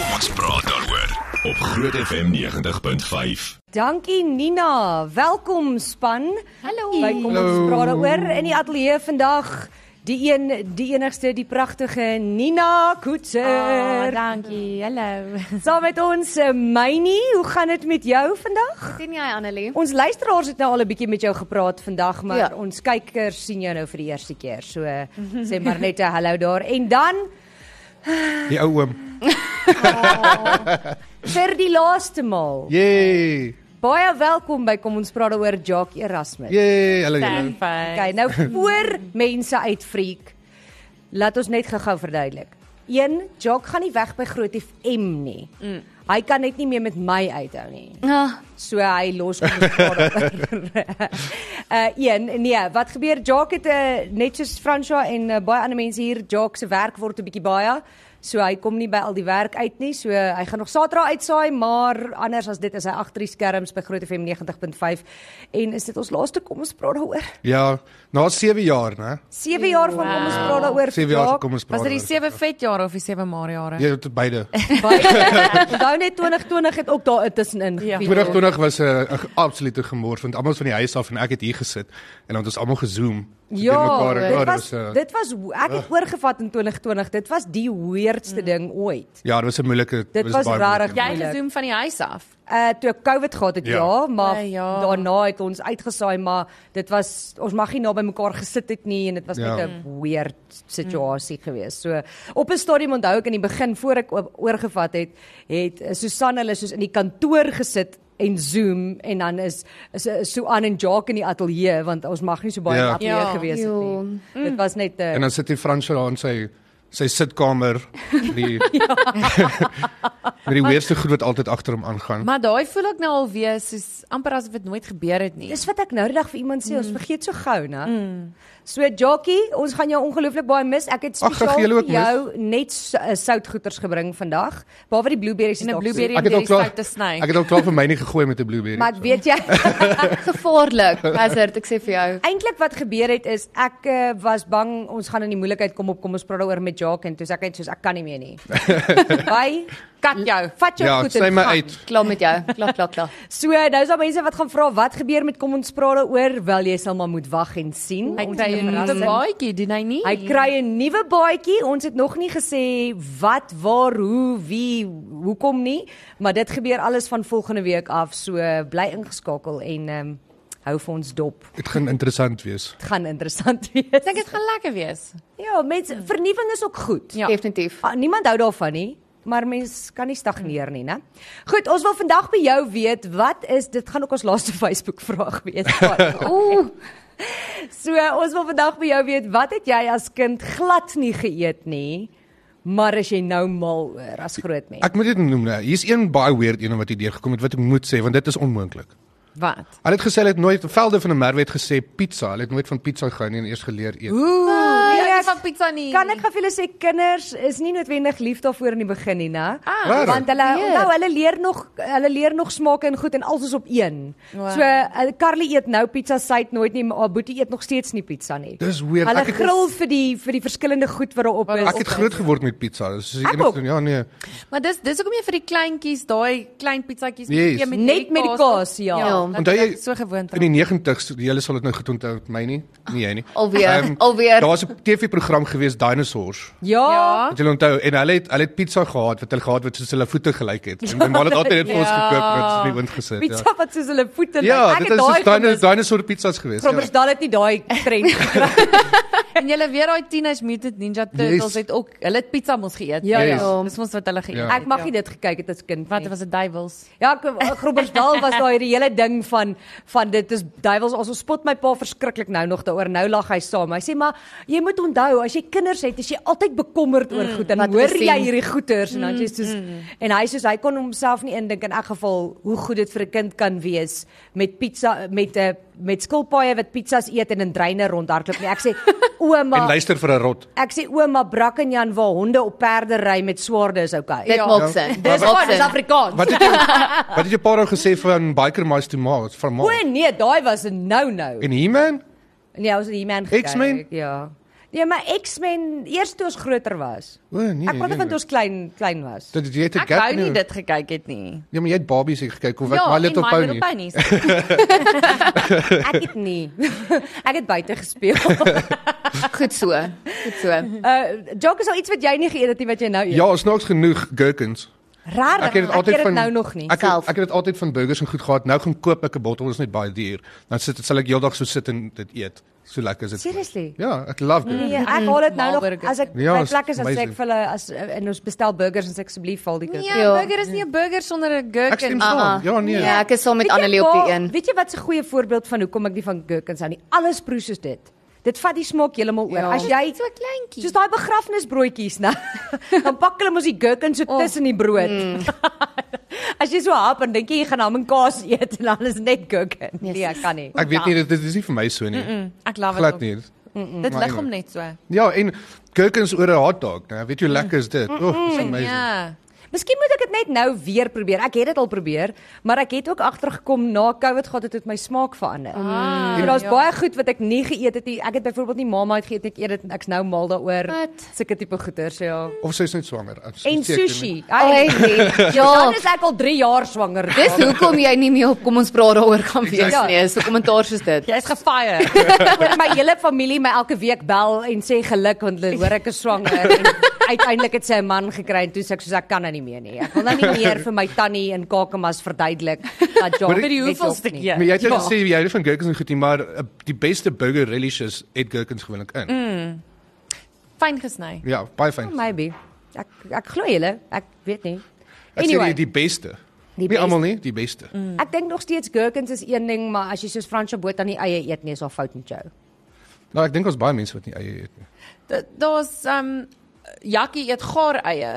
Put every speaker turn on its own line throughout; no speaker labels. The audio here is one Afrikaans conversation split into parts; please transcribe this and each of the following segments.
Ons praat daaroor op Groot FM 90.5.
Dankie Nina. Welkom span. Hallo. By kom ons praat daaroor in die ateljee vandag. Die een, die enigste, die pragtige Nina
Ah,
Koetser.
dankie. Hallo.
Saam met ons eh, Mynie, hoe gaan dit met jou vandag?
Sien jy Annelie?
Ons luisteraars het nou al 'n bietjie met jou gepraat vandag, maar ja.
Ja.
ons kykers sien jou nou vir die eerste keer. So eh, sê maar net 'n hallo daar. En dan
Die ou oom.
vir die laaste maal.
Ja. Yay!
Baie welkom by Kom ons praat daaroor Jock Erasmus.
Yay! Hallo julle.
Perfect.
Okay, nou voor mense uitfreak. Laat ons net gou-gou verduidelik. 1 Jock gaan nie weg by Groot FM nie. Mm. Hy kan net nie meer met my uithou nie.
Ja,
Ah,
So hy los kom ons praat. uh een nee, wat gebeur Jock het uh, net soos Fransha en uh, baie ander mense hier Jock se werk word 'n bietjie baie. So hy kom nie by al die werk uit nie. So eh, hy gaan nog Saterdag uitsaai, maar anders as dit is hy agter die skerms by Groot FM 90.5 en is dit ons laaste kom ons praat daaroor.
Ja, na 7 jaar, né?
7 jaar van wow. kom ons praat daaroor.
Sewe jaar
Jaak.
kom ons praat
Was dit die
oor.
7 vet jare of die 7 maar jare?
Jy het beide.
Baie- Onthou net 2020 het ook daar tussenin.
Ja.
gebeur.
2020 was 'n uh, absolute gemors want almal is van die huis af en ek het hier gesit en ons het almal gezoom.
Ja, dit was
dit eh,
dit was ho- ek het oorgevat in 2020. Dit was die weirdste ding ooit.
Ja, dit was 'n moeilike
Dit was
baie ja.
rarig.
moeilike.
Jy
Moeilik.
gezoom van die huis af.
Uh toe ek COVID gehad het ja,
Ja.
ja maar
Nee,
ja.
ja.
daarna het ons uitgesaai maar dit was ons mag nie naby mekaar gesit het nie en dit was ja.
Ja.
net
Mm.
'n weird situasie mm. geweest. So op 'n stadium onthou ek in die begin voor ek oor- oorgevat het, het eh, Susan hulle soos in die kantoor gesit en Zoom en dan is is is Suan en Jacques in die ateljee want ons mag nie so baie ja. in
Ja.
die ateljee ja.
Ja.
gewees het nie.
Jo.
Mm. Dit was net 'n
En dan sit die Fransjo daar in sy sy sitkamer die
Ja.
met die weerste goed wat altyd agter hom aangaan.
Maar daai voel ek nou al weer soos amper asof dit nooit gebeur het nie.
Dis wat ek nou die dag vir iemand sê, mm. ons vergeet so gou, né? Mm. So Jockey, ons gaan jou ongelooflik baie mis. Ek het
Ag, ek
spesiaal
gee julle
vir
ook
jou net s- uh, soutgoeters gebring vandag, behalwe die blueberries
En 'n
dalk soet.
blueberry-
Ek het al
Om deur die
klaar
stout te sny.
Ek het al klaar vir my nie gegooi met 'n blueberry.
Maar ek weet jy
gevaarlik. Hazard, ek sê vir jou.
eintlik wat gebeur het is ek uh, was bang ons gaan in die moeilikheid kom op kom ons praat daaroor met Jock en toe sê ek net soos ek kan nie meer nie. Bye.
Kat jou.
Vat jou
ja,
goed
sny
en
my
gaan.
uit.
Klaar met jou. Klaar, klaar, klaar.
So nou is daar mense wat gaan vra wat gebeur met kom ons praat daaroor. Wel jy sal maar moet wag en sien.
Hy
Ons
kry
het
'n nuwe
verrassing.
baadjie, doen hy nie?
Hy kry 'n nuwe baadjie. Ons het nog nie gesê wat, waar, hoe, wie, hoekom nie, maar dit gebeur alles van volgende week af. So bly ingeskakel en ehm um, hou vir ons dop.
Dit gaan interessant wees.
Dit gaan interessant
Ek dink
wees.
dit gaan lekker wees.
Ja, mense, vernuwing is ook goed.
Ja.
Definitief.
Ah, niemand hou daarvan nie. Maar mens kan nie stagneer nie, né? Goed, ons wil vandag by jou weet, wat is dit gaan ook ons laaste Facebook vraag wees. maar-
Ooh,
So eh, ons wil vandag by jou weet wat het jy as kind glad nie geëet nie, maar as jy nou mal oor as groot mens.
Ek moet dit noem nou. Hier's een baie weird een wat hierdeur gekom het wat ek moet sê want dit is onmoontlik.
Wat?
Hulle het gesê hulle het nooit Velde van der Merwe het gesê pizza. Hulle het nooit van pizza gehou nie en eers geleer eet.
Ooh,
nee,
ek
ek-
is Ah, van pizza nie.
Kan ek gou vir julle sê kinders is nie noodwendig lief daarvoor in die begin nie, né?
Ah.
Rarig.
Want hulle
Leer.
onthou hulle leer nog hulle leer nog smake en goed en alles is op een. Wow.
Wow.
So eh, Carly eet nou pizza, sy het nooit nie, maar haar boetie eet nog steeds nie pizza nie.
Dis weird.
Hulle
Ek het-
gril vir die vir die verskillende goed wat daarop is.
Ek het groot geword met pizza. Dis die
Ek ook.
enigste ja nee.
Maar dis dis hoekom jy vir die kleintjies daai klein pizzatjies
Yes.
gee
Net
hierdie
met die kaas, ja.
Ja.
dat
Nee, Onthou
ek
jy-
so gewoond
In die 90's, julle sal dit nou goed onthou met my nie. Nee jy nie.
Alweer, alweer.
Daar was 'n TV-program gewees Dinosaurs.
Ja. ja.
Ja.
Het julle onthou en hulle het hulle het pizza gehad wat hulle gehad wat soos hulle voete gelyk het. En hulle het altyd dit vir ons
Ja.
gekoop en dit is nie wind gesit ja.
Pizza wat soos hulle voete lyk.
Ja,
Ek
dit
het
is soos
daai
dino,
gemis.
dinosaur pizzas gewees. Ja.
Krommersdal het nie daai trend gekry.
En jy weet daai Teenage Mutant Ninja Turtles
Yes.
het ook hulle het pizza mos geëet.
Ja,
ja.
Yes.
Dis mos wat hulle geëet
Ja.
het.
Ek mag nie dit gekyk het as kind
Wat
nie.
was dit duiwels?
Ja, ek- Grobbersdal was daai hierdie hele ding van van dit is duiwels ons spot my pa verskriklik nou nog daaroor. Nou lag hy saam. Hy sê maar jy moet onthou as jy kinders het, is jy altyd bekommerd oor goed. Dan
wat
hoor
Mm, hulle
jy
sien. Mm,
hierdie goeters en dan is jy soos en hy soos hy kon homself nie indink in elk geval hoe goed dit vir 'n kind kan wees met pizza met 'n met skilpaaie wat pizzas eet en in dreine rondhardloop nie. Ek sê
En
ouma
luister vir 'n rot.
Ek sê ouma Brak en Jan waar honde op perde ry met swaarde is okay.
dit Ja. maak sin.
Dis
Dit
wat
maak
is
sin.
Afrikaans.
Wat het jy Wat het jou pa nou gesê van Biker Mice to Mars van
O
Mars?
nee, daai was 'n nou nou.
En He-Man?
Nee, ons het die man gekry.
X-Men?
Ja. Ja, maar X-Men eers toe ons groter was.
O nee.
Ek praat van toe ons klein klein was.
Dit jy het 'n
Ek
gap
wou
in jou-
nie
Ja.
dit gekyk het nie.
Ja, maar jy het Barbies hier gekyk of wat
Ja,
My Little
Ja, en
Pony.
Ponies.
Ek het nie. ek het buite gespeel.
Goed so. Goed so.
Uh Jock is al iets wat jy nie geëet het nie wat jy nou eet.
Ja, snaaks genoeg gurkins.
Rarig.
Ek het dit altyd van
nou nog nie.
Ek het,
self.
ek het dit altyd van burgers en goed gehad. Nou gaan koop ek 'n bottel, dit is net baie duur. Dan sit dit sal ek heeldag so sit en dit eet. So lekker is dit.
Seriously?
Ja, ek love dit.
Nee, ek haal dit nou nog
Maalburgers.
as ek
Ja,
by
is
plek is as
amazing.
ek vir hulle as uh, en ons bestel burgers en sê asseblief val die kut.
Ja, 'n
Ja.
burger is nie 'n burger sonder 'n
Nee. Ek stem
gurk en
saam.
uh-uh.
Ja, nee.
Ja, ek is saam met
Weet jy
Annelie op die
waar-
een.
Weet jy wat 'n goeie voorbeeld van hoekom ek nie van gurkens hou nie? Alles proes soos dit. Dit vat die smaak heeltemal oor.
Ja.
As jy
so kleintjie.
soos daai begrafnisbroodjies, né? dan pak hulle mos die gurkens
Oh.
so tussen die brood.
Mm.
As jy so hap en dink jy jy gaan hom en kaas eet en alles net gurkens.
Nee,
Nee, ek kan nie.
Ek weet nie dit, dit is nie vir my so nie.
Ek love dit.
Glad
ook.
nie.
Dit
Maar
lig
anyway.
hom net so.
Ja, en gurkins oor 'n hotdog, né? Weet jy hoe lekker is dit? O, oh, is amazing.
Ja.
Miskien moet ek dit net nou weer probeer. Ek het dit al probeer, maar ek het ook agtergekom na COVID gehad het dit my smaak verander. Ah,
ja.
so daar's baie goed wat ek nie geëet het nie. Ek het byvoorbeeld nie Marmite geëet nie. Ek eet dit en ek's nou mal daaroor.
Wat?
Sulke tipe goeder, so ja.
Of sy is net swanger. Ek is
En
nie seker
sushi.
nie.
Ai,
Oh,
nee.
ja.
dan is ek al 3 jaar swanger.
Dis
Ja.
hoekom jy nie meer op kom ons praat daaroor gaan wees
Exactly.
nie. Is 'n kommentaar soos dit.
Ja,
Jy's gefire. Want my hele familie my elke week bel en sê geluk want hulle hoor ek is swanger en uiteindelik het sy 'n man gekry en toe sê ek soos ek kan nou nie meer nie. Ek wil nou nie meer vir my tannie in Kakamas verduidelik dat Jacques
Vir die
net
hoeveelste
help nie.
keer.
Maar jy het ja. gesê jy hou nie van gurkins en goed nie, maar eh, die beste burger relishes het gurkins gewoonlik in. Mm.
Fyn gesny.
Ja, baie fyn.
Maybe. Ek ek glo julle. Ek weet nie.
Ek sê
Anyway.
die, die beste.
Die
nie
beste.
almal nie, die beste. Mm.
Ek dink nog steeds gherkins is een ding, maar as jy soos Fransjo boot aan die eie eet, nee, is al fout met jou.
Nou ek dink daar's baie mense wat nie eie eet nie.
Da- Daar's um Jackie eet gaar eie,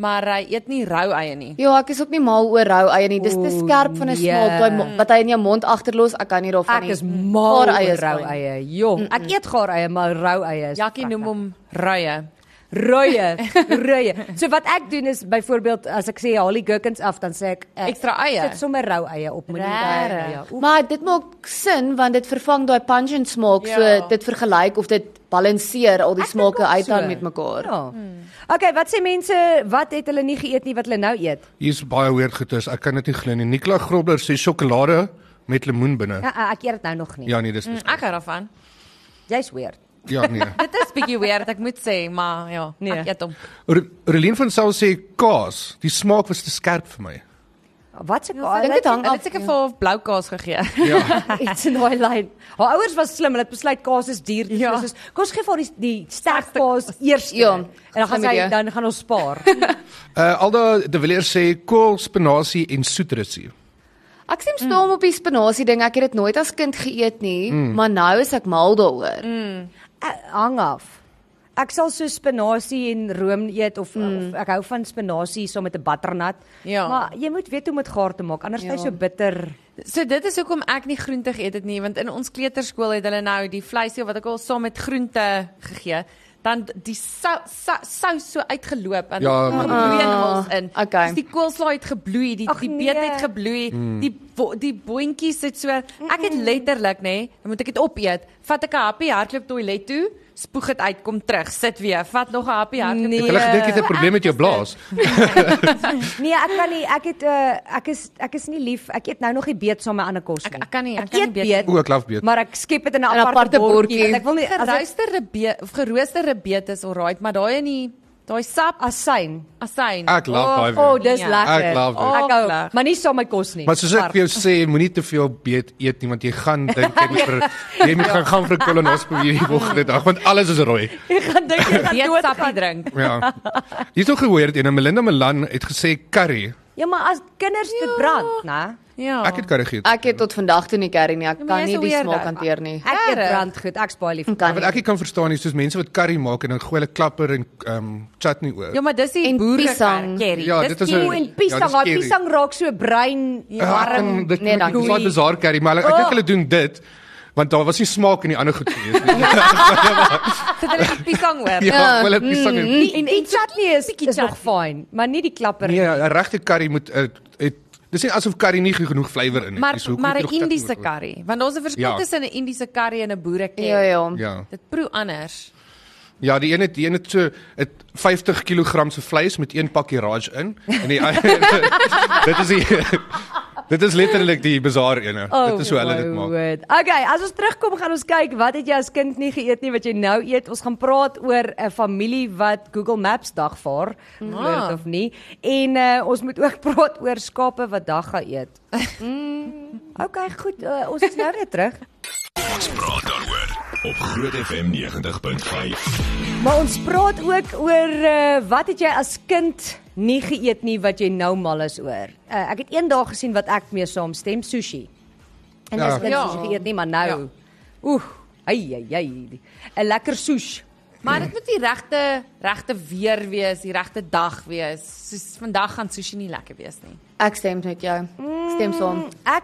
maar hy eet nie rou eie nie.
Ja, ek is ook nie mal oor rou eie nie. Dis te
Oeh,
skerp van 'n
nee.
smaak daai mo- wat hy in jou mond agterlos. Ek kan nie daarvan
Ek
nie.
is mal
Gaar eie
oor
is
rou
fyn.
eie. Jong, ek eet gaar eie, maar rou eie is
Jackie noem hom ruie.
Ruie, ruie. So wat ek doen is byvoorbeeld as ek sê haal die gherkins af, dan sê ek eh,
Ekstra eie.
Sit sommer rou eie op, moenie
Rarig.
daai ja. Oef,
Maar dit maak sin want dit vervang daai pungent smaak.
Ja.
So dit vergelyk of dit balanseer al die
ek dink
smake
ook
uit
so.
aan met mekaar.
Ja. Okay, wat sê mense wat het hulle nie geëet nie wat hulle nou eet?
Hier's baie weird goeters. Ek kan dit nie glo nie. Nikla Grobler sê sjokolade met lemoen binne.
Ja, eh, ek eet dit nou nog nie.
Ja nee, dis dis.
Hm, Ek hou daarvan.
Jy's weird.
Ja nee.
Dit is bietjie weird, ek moet sê, maar ja, nee.
Nee.
ek eet hom.
Aure- Aurelien van Sail sê kaas. Die smaak was te skerp vir my.
Wat se
Ek dink dit hang
Hulle
af.
het seker vir hom blou kaas gegee.
Ja.
iets in daai lyn. Haar ouers was slim, hulle het besluit kaas is duur. Ja.
Ja.
Soos kom ons gee vir haar die, die sterkste kaas eers.
Ja,
en dan gaan sy
goeie idee.
dan gaan ons spaar.
Uh Alda de Villiers sê kool, spinasie en soetrusie.
Ek sien staan op die spinasie ding. Ek het dit nooit as kind geëet nie, maar nou is ek mal daaroor.
Eh, hang af. Ek sal so spinasie en room eet of, of ek hou van spinasie saam met 'n butternut.
Mm. Ja.
Maar jy moet weet hoe om dit gaar te maak, anders is hy
Ja.
so bitter.
So dit is hoekom ek nie groente geëet het nie, want in ons kleuterskool het hulle nou die vleisie wat ek al saam met groente gegee, dan die sou- sou- sous so uitgeloop en
Ja, maar-
gebloei in ons in.
Okay.
Dus die koolslaai het gebloei, die
Ah, Ag,
die beet
nee.
het gebloei,
Hmm.
die bo- die boontjies het so ek het letterlik nê, nee, dan moet ek dit opeet. Vat ek 'n happie, hardloop toilet toe, spoeg dit uit, kom terug, sit weer, vat nog 'n happie, hardloop
Nee.
nee.
Hulle gedink jy het 'n probleem met jou blaas.
Nee, ek kan nie, ek het uh, ek is ek is nie lief. Ek eet nou nog die beet saam met ander kos nie.
Ek- ek kan nie, ek
ek
kan nie
eet
beet
beet.
O, ek love beet.
Maar ek skep dit in 'n aparte,
aparte
bordjie.
bordjie.
want Ek wil nie as ek
Geroosterde be of geroosterde beet is alright, maar daai in die daai sap
asyn.
asyn.
Ek love daai
O,
weer.
oh, dis
Ja.
lekker.
Ek love dit.
Ek hou,
Aklig.
maar nie saam my kos nie.
Maar soos ek vir jou sê, moenie te veel beet eet nie want jy gaan dink jy moet vir jy moet gaan gaan vir kolonoskopie hierdie volgende dag want alles is rooi.
jy gaan dink jy gaan
Weet
dood
sappie drink.
Ja. Hier's nog gehoor en Melinda Melan het gesê curry.
Ja, maar as kinders dit brand, né?
Ja.
Ek het curry geëet.
Ek het tot vandag toe nie curry nie. Ek
Ja, maar
kan
jy's
nie
een
Nee, die
weirdo.
smaak hanteer nie.
Ek eet
Rarig.
brandgoed. Ek's baie lief. vir
Kan
Wat
nie.
ek nie kan verstaan is soos mense wat curry maak en dan gooi hulle klapper en ehm um, chutney oor.
Ja, maar dis die
En
boere
piesang.
curry.
Ja, dit is 'n-
O, en pisang,
Ja, dis
daai
curry.
pisang raak so bruin, warm.
dit
Nee,
nee,
dankie.
is baie bizar curry, maar hulle- ek dink hulle doen dit want daar was nie smaak in die ander goed gewees nie.
sit hulle die piesang oor.
ja, hulle piesang. en-
En en chutney is, is nog fyn, maar nie die klapper nie.
Nee, 'n regte curry moet eh, het dis nie asof curry nie genoeg flavour in het.
Maar
nie, so Ja, hoekom
maar
moet jy
'n
nog chutney
Indiese
oor-
curry, want daar's 'n verskil
Ja.
ja.
tussen 'n Indiese curry en 'n boere curry.
Ja ja.
Ja.
Dit proe anders.
Ja, die een het die een het so het 50 kg se vleis met een pakkie raj in en die ander- dit is die dit is letterlik die bazaar ene. Oh, dit is hoe hulle dit maak.
Word. Okay, as ons terugkom gaan ons kyk wat het jy as kind nie geëet nie wat jy nou eet. Ons gaan praat oor 'n familie wat Google Maps dagvaar, mm. dit of nie. En uh, ons moet ook praat oor skape wat dag gaan eet. Mm. Okay, goed. Uh, ons is nou weer terug.
Ons praat daaroor op Groot FM 90.5.
Maar ons praat ook oor uh, wat het jy as kind nie geëet nie wat jy nou mal is oor. Uh, ek het eendag gesien wat ek mee saamstem, sushi. En
Ja.
as kind
Ja.
sushi geëet nie, maar nou. Ja. Oeh, ai ai ai. 'n Lekker sushi.
Maar dit moet die regte regte weer wees, die regte dag wees. Soos vandag gaan sushi nie lekker wees nie.
Ek stem met jou. Ek stem saam.
Ek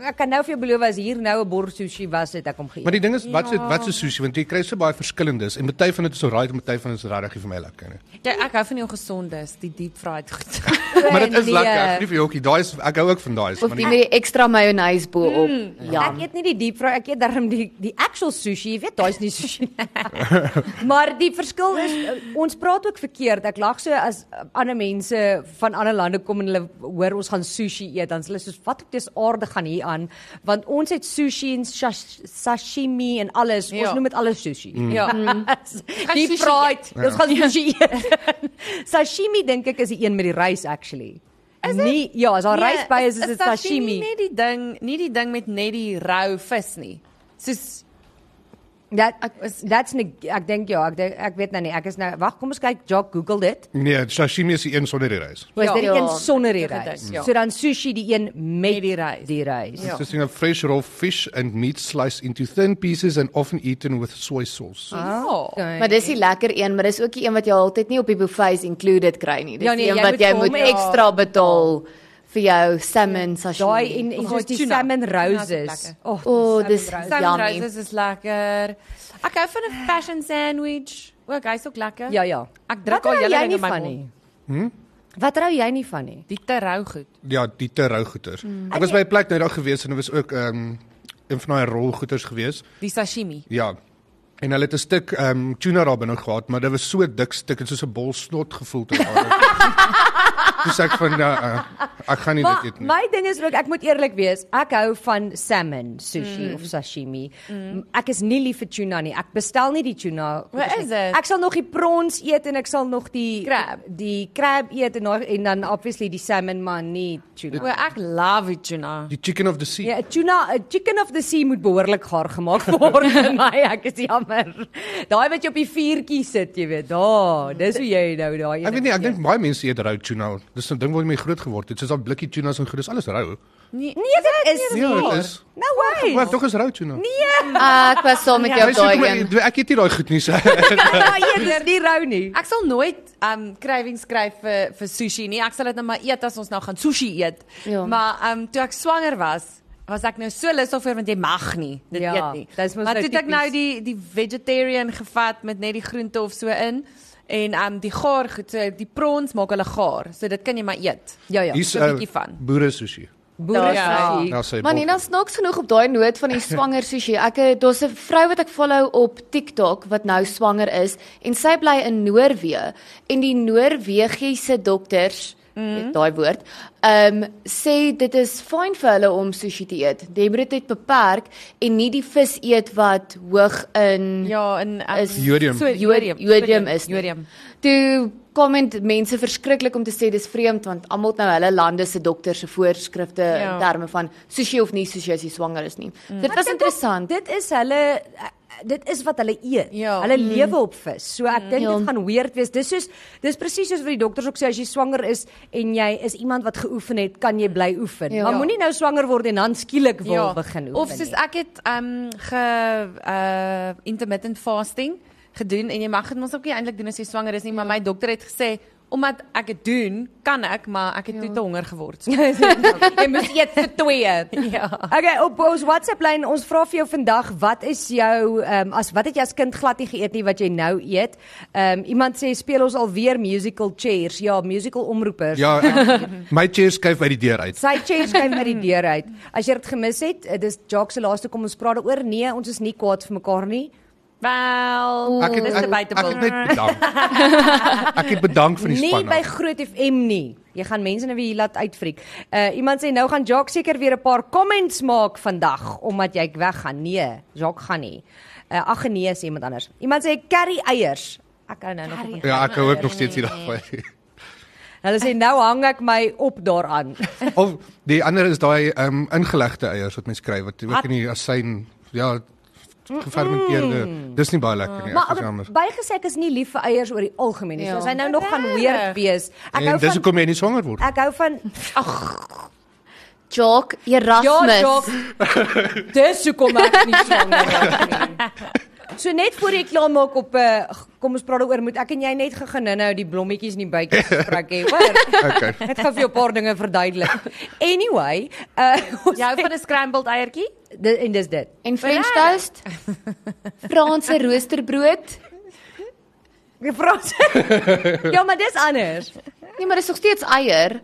ek kan nou vir jou beloof as hier nou 'n bord sushi was het ek hom geëet.
Maar die ding is wat ja. wat is sushi want jy kry so baie verskillendes en baie van dit is alright en baie van dit is regtig nie vir my lekker nie.
Jy Ja, ek hou van die ongesondes, die deep fried goed.
Maar dit is
Nee.
lekker. Ek lief hokkie. Daai is ek hou ook van daai. is,
Of
maar
die
die-
met die ekstra majonaise bo-op. Ja.
Ek eet nie die deep fry, ek eet darm die die actual sushi. Jy weet, daai's nie sushi nie. maar die verskil is uh, ons praat ook verkeerd. Ek lag so as uh, ander mense van ander lande kom en hulle hoor ons gaan sushi eet, dan is hulle soos wat op dis aarde gaan hier aan, want ons het sushi en shash, sashimi en alles. Ja.
Ja.
Ons noem dit alles sushi.
ja.
Die
sushi
fried, ons gaan sushi eet. sashimi dink ek is die een met die rys actually. Is nie, ja, as
Nee,
daar rys by is is dit sashimi.
Net die ding, nie die ding met net die rou vis nie. Soos
Dat dat's nie ek dink ja, ek dink, ek weet nou nie. Ek is nou wag, kom ons kyk, Jock Google dit.
Nee, sashimi is die een sonder die rys.
Was
Ja.
dit die een
Ja,
sonder die
ek het
rys?
dit, ja.
So dan sushi die een met die rys. Die rys.
Ja.
It's just a fresh raw fish and meat sliced into thin pieces and often eaten with soy sauce.
Ah,
ja.
Maar dis die lekker een, maar dis ook die een wat jy altyd nie op die buffets included kry nie. Dis
Ja, nee,
die een
jy
wat
moet
jy
vir
moet
hom- ja.
ekstra betaal vir jou salmon sashimi.
Daai en en
Of
soos die
tuna.
salmon
Tuna is
roses.
lekker.
Oh,
O, oh, dis
Salmon
yummy.
roses is lekker. Ek hou van 'n passion sandwich. Ook hy's ook lekker.
ja ja.
Ek druk
Wat
al
hou
julle
jy
in
nie
my
van
mond.
nie. Wat rou jy nie van nie?
Die te rou goed.
Ja, die te rou goeters. Ek was by 'n plek nou daar gewees en dit was ook ehm um, een van daai rol goeters gewees.
Die sashimi.
Ja. En hulle het 'n stuk ehm um, tuna daar binne gehad, maar dit was so dik stuk en soos 'n bol snot gevoel het daar. Dis ek van nou uh, ek gaan nie dit
Maar
eet nie.
my ding is ook ek moet eerlik wees, ek hou van salmon sushi mm. of sashimi. Mm. Ek is nie lief vir tuna nie. Ek bestel nie die tuna.
Wat is dit?
Ek sal nog die prawns eet en ek sal nog die
Crab.
die crab eet en dan en dan obviously die salmon maar nie
O,
tuna.
ek love it, Juna.
Die chicken of the sea.
Ja, 'n tuna, 'n chicken of the sea moet behoorlik gaar gemaak word vir my. Ek is jammer. Daai wat jy op die vuurtjie sit, jy weet, daar, dis hoe jy nou daai
Ek weet nie, ek dink baie mense eet rou tuna. Dis 'n ding waar jy mee groot geword het. Soos daai blikkie tunas en goed, dis alles rou.
Nee,
Nee, dit is
Ja, dit
nie. Nou,
is.
No way.
Maar tog is rou tuna. Nee,
Ah, ek was saam met jou
jy
op daai een.
sê ek eet nie daai goed nie. so-
Daai eet nie rou nie.
Ek sal nooit um cravings kry vir vir sushi nie. Ek sal dit nou maar eet as ons nou gaan sushi eet.
Ja.
Maar um toe ek swanger was, was ek nou so lus daarvoor want jy mag nie dit
Ja,
eet nie.
dis mos
maar
nou
toe het ek nou
typies.
die die vegetarian gevat met net die groente of so in en um die gaar goed, so die prawns maak hulle gaar. So dit kan jy maar eet.
Ja ja.
Hier's
so 'n
uh,
bietjie van.
boere sushi.
Boere
Ja.
sushi.
Nou sê
Maar
Bob.
Nina snaaks genoeg op daai noot van die swanger sushi. Ek het- daar's 'n vrou wat ek follow op TikTok wat nou swanger is en sy bly in Noorwe en die Noorwegiese dokters mm. daai woord. Ehm um, sê dit is fyn vir hulle om sushi te eet. Jy moet dit net beperk en nie die vis eet wat hoog in
Ja, en um,
Is
Jodium.
So,
jodium jodium is. nie.
jodium.
Toe comment mense verskriklik om te sê dis vreemd want almal het nou hulle lande se dokters se voorskrifte ja.
Ja.
in terme van sushi of nie sushi as jy swanger is nie. Mm. Dit was interessant.
Dit is hulle dit is wat hulle eet.
Ja.
Hulle lewe op vis. So ek dink
Ja.
dit gaan weird wees. Dis soos dis presies soos wat die dokters ook sê as jy swanger is en jy is iemand wat geoefen het, kan jy bly oefen.
Ja.
Maar moenie nou swanger word en dan skielik wil
ja,
begin oefen.
Of soos ek het um ge uh intermittent fasting gedoen en jy mag dit mos ook nie eintlik doen as jy swanger is nie,
Ja.
maar my dokter het gesê omdat ek dit doen, kan ek, maar ek het ja. toe te honger geword. So,
jy moet eet vir twee.
Ja.
Okay, op ons WhatsApp lyn, ons vra vir jou vandag, wat is jou ehm um, as wat het jy as kind glad nie geëet nie wat jy nou eet? Ehm um, iemand sê speel ons alweer musical chairs. Ja, musical omroepers.
Ja, ek, my chair skuif uit die deur uit.
Sy chair skyn by die deur uit. As jy dit gemis het, eh, dis Jacques se laaste kom ons praat daaroor. Nee, ons is nie kwaad vir mekaar nie.
Wel,
Ek het
dis
ek,
te
ek,
buitebul.
het net bedank. Ek het bedank vir die
Nie
span.
Nee, by Groot FM nie. Jy gaan mense nou weer hier laat uitfriek. Uh iemand sê nou gaan Jacques seker weer 'n paar comments maak vandag omdat jy weggaan. Nee, Jacques gaan nie. Uh ag nee, sê iemand anders. Iemand sê curry eiers. Ek hou nou nog van
Ja, ek hou ook nog steeds hier daarvan.
Hulle sê nou hang ek my op daaraan.
Of die ander is daai ehm ingelegde eiers wat mens kry wat
Wat?
ook in die asyn ja gefermenteerde. Dis nie baie lekker nie.
Maar
Ek is jammer.
bygesê ek is nie lief vir eiers oor die algemeen nie.
Ja.
So as hy nou nog gaan weird wees. Ek hou
En dis
van
hoekom jy nie swanger word.
ek hou van
Jock
Ja,
Erasmus.
Jacques. Dis hoekom ek nie swanger raak nie. So net voor jy klaar maak op 'n uh, kom ons praat daaroor moet ek en jy net gegaan inhou die blommetjies in die bytjie gesprek hê. Hoor.
Okay.
Net gaan vir jou 'n paar dinge verduidelik. Anyway, uh ons
Jy hou van 'n scrambled eiertjie?
di- en dis dit.
en French toast. Franse roosterbrood.
Ek vra Ja, maar dis anders.
Nee, maar dis nog steeds eier.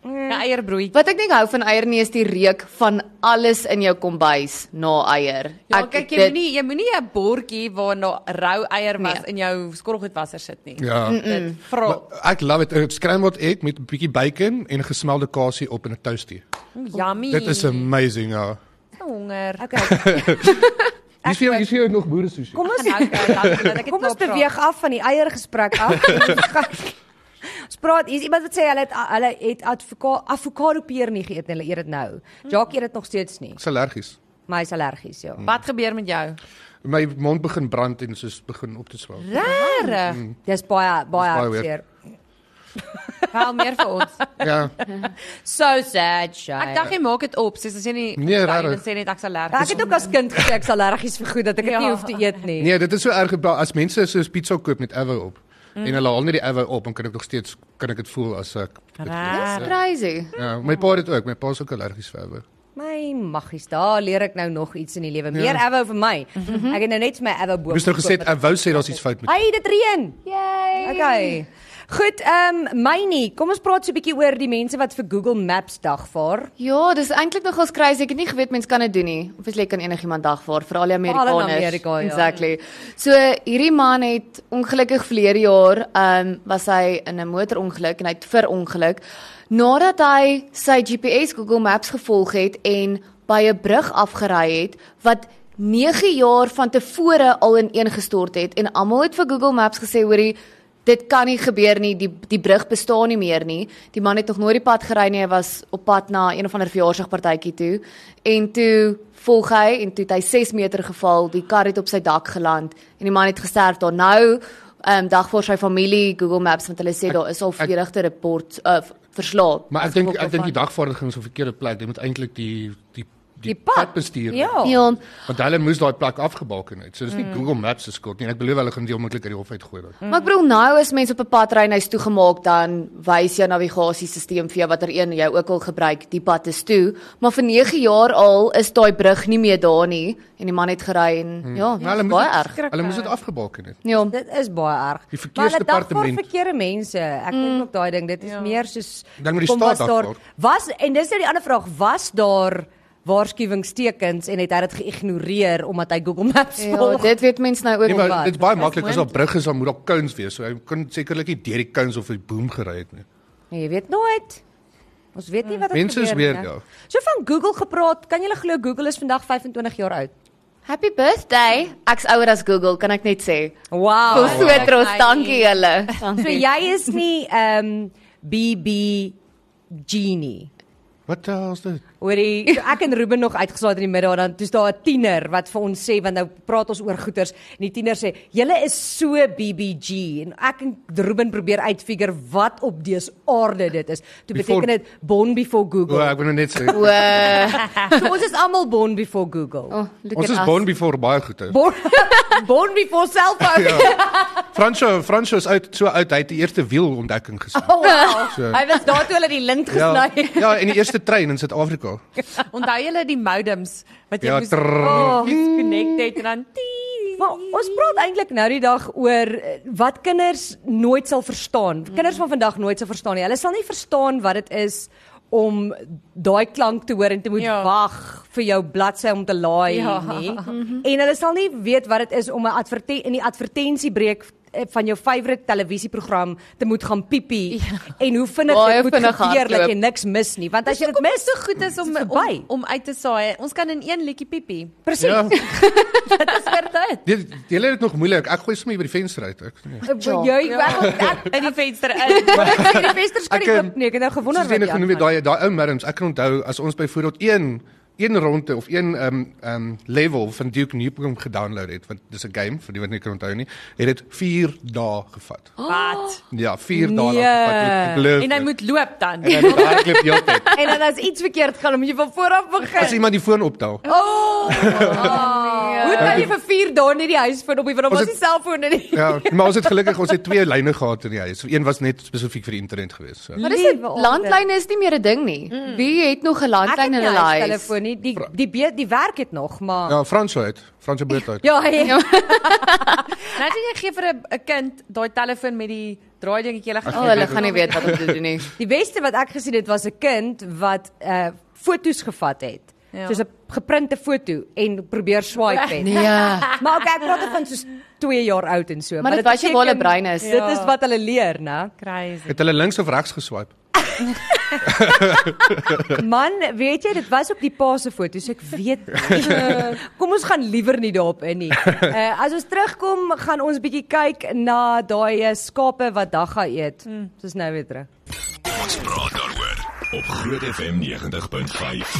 Mm.
'n Eierbroodjie.
Wat ek nie hou van eier nie is die reuk van alles in jou kombuis na eier.
Ja,
Ek-
kyk jy
dit-
moenie jy moenie 'n bordjie waarna rou eier was
Nee.
in jou skorrelgoedwasser sit nie.
Ja.
Mm.
Dit vrol.
Ek love dit. 'n Scrambled egg met 'n bietjie bacon en gesmelde kasie op in 'n toastie.
mm, Yummy.
Dit is amazing. Ja.
honger.
Okay.
Hier's vir jou hier's vir jou nog boere sushi.
Kom ons
Gaan nou kry dan dat ek dit
Kom ons
wil praat.
beweeg af van die eiergesprek af. Ons gaan- Ons praat hier is iemand wat sê hulle het hulle het advoka- avokado peer nie geëet nie, hulle eet dit nou. Jacques eet dit nog steeds nie,
Ek's allergies.
maar hy's allergies,
Mhm.
ja.
Wat gebeur met jou?
My mond begin brand en soos begin op te swel.
Rare.
Dis baie baie
baie
hartseer.
Haal meer vir ons.
Ja.
So sad, Shay.
Ek dink jy maak dit op, soos as jy nie
Nee, rarig.
Dan sê net ek's allergies.
Ek het ook as kind gesê ek's allergies vir goed dat ek dit nie
Ja.
hoef te eet nie.
Nee, dit is so erg ba- as mense soos pizza koop met avo op.
Mm.
En hulle haal net die avo op en kan ek nog steeds kan ek dit voel as ek dit
Rarig.
Dis crazy.
Ja, my pa het dit ook. My pa is ook allergies vir avo.
My maggies, daar leer ek nou nog iets in die lewe. Meer avou vir my.
Mhm.
Ek het nou net vir my avou boom.
Ja. Moes nou gesê
gekoop met-
ek wou sê daar's iets fout met.
Hey, dit reën.
Yay.
Okay. Goed, ehm um, my nie. Kom ons praat so 'n bietjie oor die mense wat vir Google Maps dagvaar.
Ja, dis eintlik nogals crazy. Ek het nie geweet mense kan dit doen nie. Obviously kan enigiemand dagvaar, veral die
in
Amerikaners.
Amerika, ja.
Exactly. So hierdie man het ongelukkig verlede jaar, ehm um, was hy in 'n motorongeluk en hy het verongeluk nadat hy sy GPS Google Maps gevolg het en by 'n brug afgery het wat 9 jaar van tevore al ineengestort het en almal het vir Google Maps gesê hoorie dit kan nie gebeur nie. Die die brug bestaan nie meer nie. Die man het nog nooit die pad gery nie. Hy was op pad na een of ander verjaarsdagpartytjie toe en toe volg hy en toe het hy 6 meter geval. Die kar het op sy dak geland en die man het gesterf daar nou. Ehm um, dag voor sy familie Google Maps want hulle sê daar is al
ek-
verdedigde rapport uh, verslaap.
Maar ek dink ek dink die dagvaarding is op 'n verkeerde plek. Jy moet eintlik die die die,
Die pad.
bestuur.
Ja. Mm.
Ja,
Want hulle moes daai plek afgebalken het. So dis nie Google Maps se skuld nie. En Ek belowe hulle gaan dit onmiddellik uit die hof uitgooi.
Ja.
Mm.
maar ek bedoel nou as mense op 'n pad ry en hy's toegemaak dan wys jou navigasiesisteem vir jou watter een jy ook al gebruik, die pad is toe. Maar vir 9 jaar al is daai brug nie meer daar nie en die man het gery en ja,
Maar Nou,
dit
hulle
is
moes
baie
dit-
erg.
Hulle moes dit afgebalken het.
Ja.
Dit is baie erg.
Die
Maar hulle
verkeersdepartement.
dagvaar verkeerde mense. Ek dink
Mm.
ook daai ding, dit is ja. meer soos
Dan moet die
kom,
staat
was daar-
dagvaar.
Was en dis nou die ander vraag, was daar waarskuwingstekens en het hy dit geïgnoreer omdat hy Google Maps
Ja,
volg?
dit weet mense nou ook
Nee,
nie.
maar dit is baie maklik as daar
moontlik.
brugge is, dan moet daar cones wees. So hy kon sekerlik nie deur die cones of die boom gery het nie.
Nee, jy weet nooit. Ons weet nie wat het
Mense is
gebeur nie,
weird,
né?
ja.
So van Google gepraat, kan julle glo Google is vandag 25 jaar oud.
Happy birthday. Ek's ouer as Google, kan ek net sê.
Wow.
Kom so trots,
Dankie.
dankie julle.
So
Oh, Dankie.
jy is nie ehm BB genie.
Wat the hell is dit?
Hoorie, so ek en Ruben nog uitgeslaat in die middag dan toets daar 'n tiener wat vir ons sê want nou praat ons oor goeters en die tiener sê julle is so BBG en ek en Ruben probeer uitfigure wat op dese aarde dit is. Toe
Before-
beteken dit born before
O,
Google.
ek wil nou net sê.
Wow.
So ons is almal born before Google.
Oh, look at
Ons is
us.
born before baie goeie.
Born, born before selfphone.
Franco, Franco is uit so uit, hy het die eerste wiel ontdekking gesien.
Oh, wow.
So.
Hy was daar toe hulle die lint
Ja,
gesny
nee.
het.
ja, en die eerste trein in Suid-Afrika.
Onthou julle die modems wat jy
Ja,
moes
trrr.
oh, disconnected en dan tii.
Maar ons praat eintlik nou die dag oor eh, wat kinders nooit sal verstaan. Kinders van vandag nooit sal verstaan nie. Hulle sal nie verstaan wat dit is om daai klank te hoor en te moet ja.
Ja.
wag vir jou bladsy om te laai
Ja.
nie. En hulle sal nie weet wat dit is om 'n advertensie in die advertensiebreek eh, van jou favourite televisieprogram te moet gaan piepie ja. en hoe vinnig
Baie
dit moet
vinnig
gebeur dat
hardloop.
jy niks mis nie, want as jy dit mis,
so goed is om
Dis verby.
om, om uit te saai. Ons kan in een liedjie piepie.
presies.
Ja.
Dit is vir dit.
Jy jy lê dit nog moeilik. Ek gooi sommer hier by die venster uit. Ek. Nee.
Wil jy
Ek in die venster in.
ek sê die vensters kan
Ek,
nie
ehm,
oop nie. Ek het nou gewonder
Soos jy nog
jy
genoem het,
aangaan.
daai daai ou merms, ek kan onthou as ons byvoorbeeld een een ronde of een ehm um, ehm um, level van Duke Nukem gedownload het, want dis 'n game vir die wat nie kan onthou nie, het dit 4 dae gevat.
Wat?
Ja, 4 dae
Nee.
lank gevat. Ek glo.
Oh. En hy moet loop dan.
en hy baie klip heeltyd.
En dan as iets verkeerd gaan, moet jy van voor af
As
begin.
iemand die foon optel.
Hoe kan jy vir 4 dae net die huis vind op die want
Ons
ons
het-
die selfoon in die
Ja, maar ons het gelukkig ons het twee lyne gehad in die huis. Een was net spesifiek vir die internet gewees. So.
Maar dis dit
Liewe orde.
landlyne is nie meer 'n ding nie. Wie het nog 'n
Ek het
landlyn in
nie
'n
huis
huis?
telefoon nie. Die die be- die werk het nog, maar
Ja, Fransjo het. Fransjo Boot uit.
Ja, ja.
Nou sien jy gee vir 'n 'n kind daai telefoon met die draai dingetjie hulle
O, oh, hulle gaan nie weet wat om te doen nie.
Die beste wat ek gesien het was 'n kind wat uh foto's gevat het. Ja.
Ja.
Soos 'n geprinte foto en probeer swipe het.
Nee. Ja.
Maar okay, ek praat van soos 2 jaar oud en so, maar,
dit wys jou waar hulle brein is.
Dit is
Ja.
wat hulle leer, né?
Crazy.
Het hulle links of regs geswipe?
Man, weet jy, dit was op die pa se foto's, ek weet. nie. Kom ons gaan liewer nie daarop in nie. Uh, as ons terugkom, gaan ons bietjie kyk na daai eh, skape wat dagga eet. Soos nou weer terug.
Ons praat daaroor op Groot FM 90.5.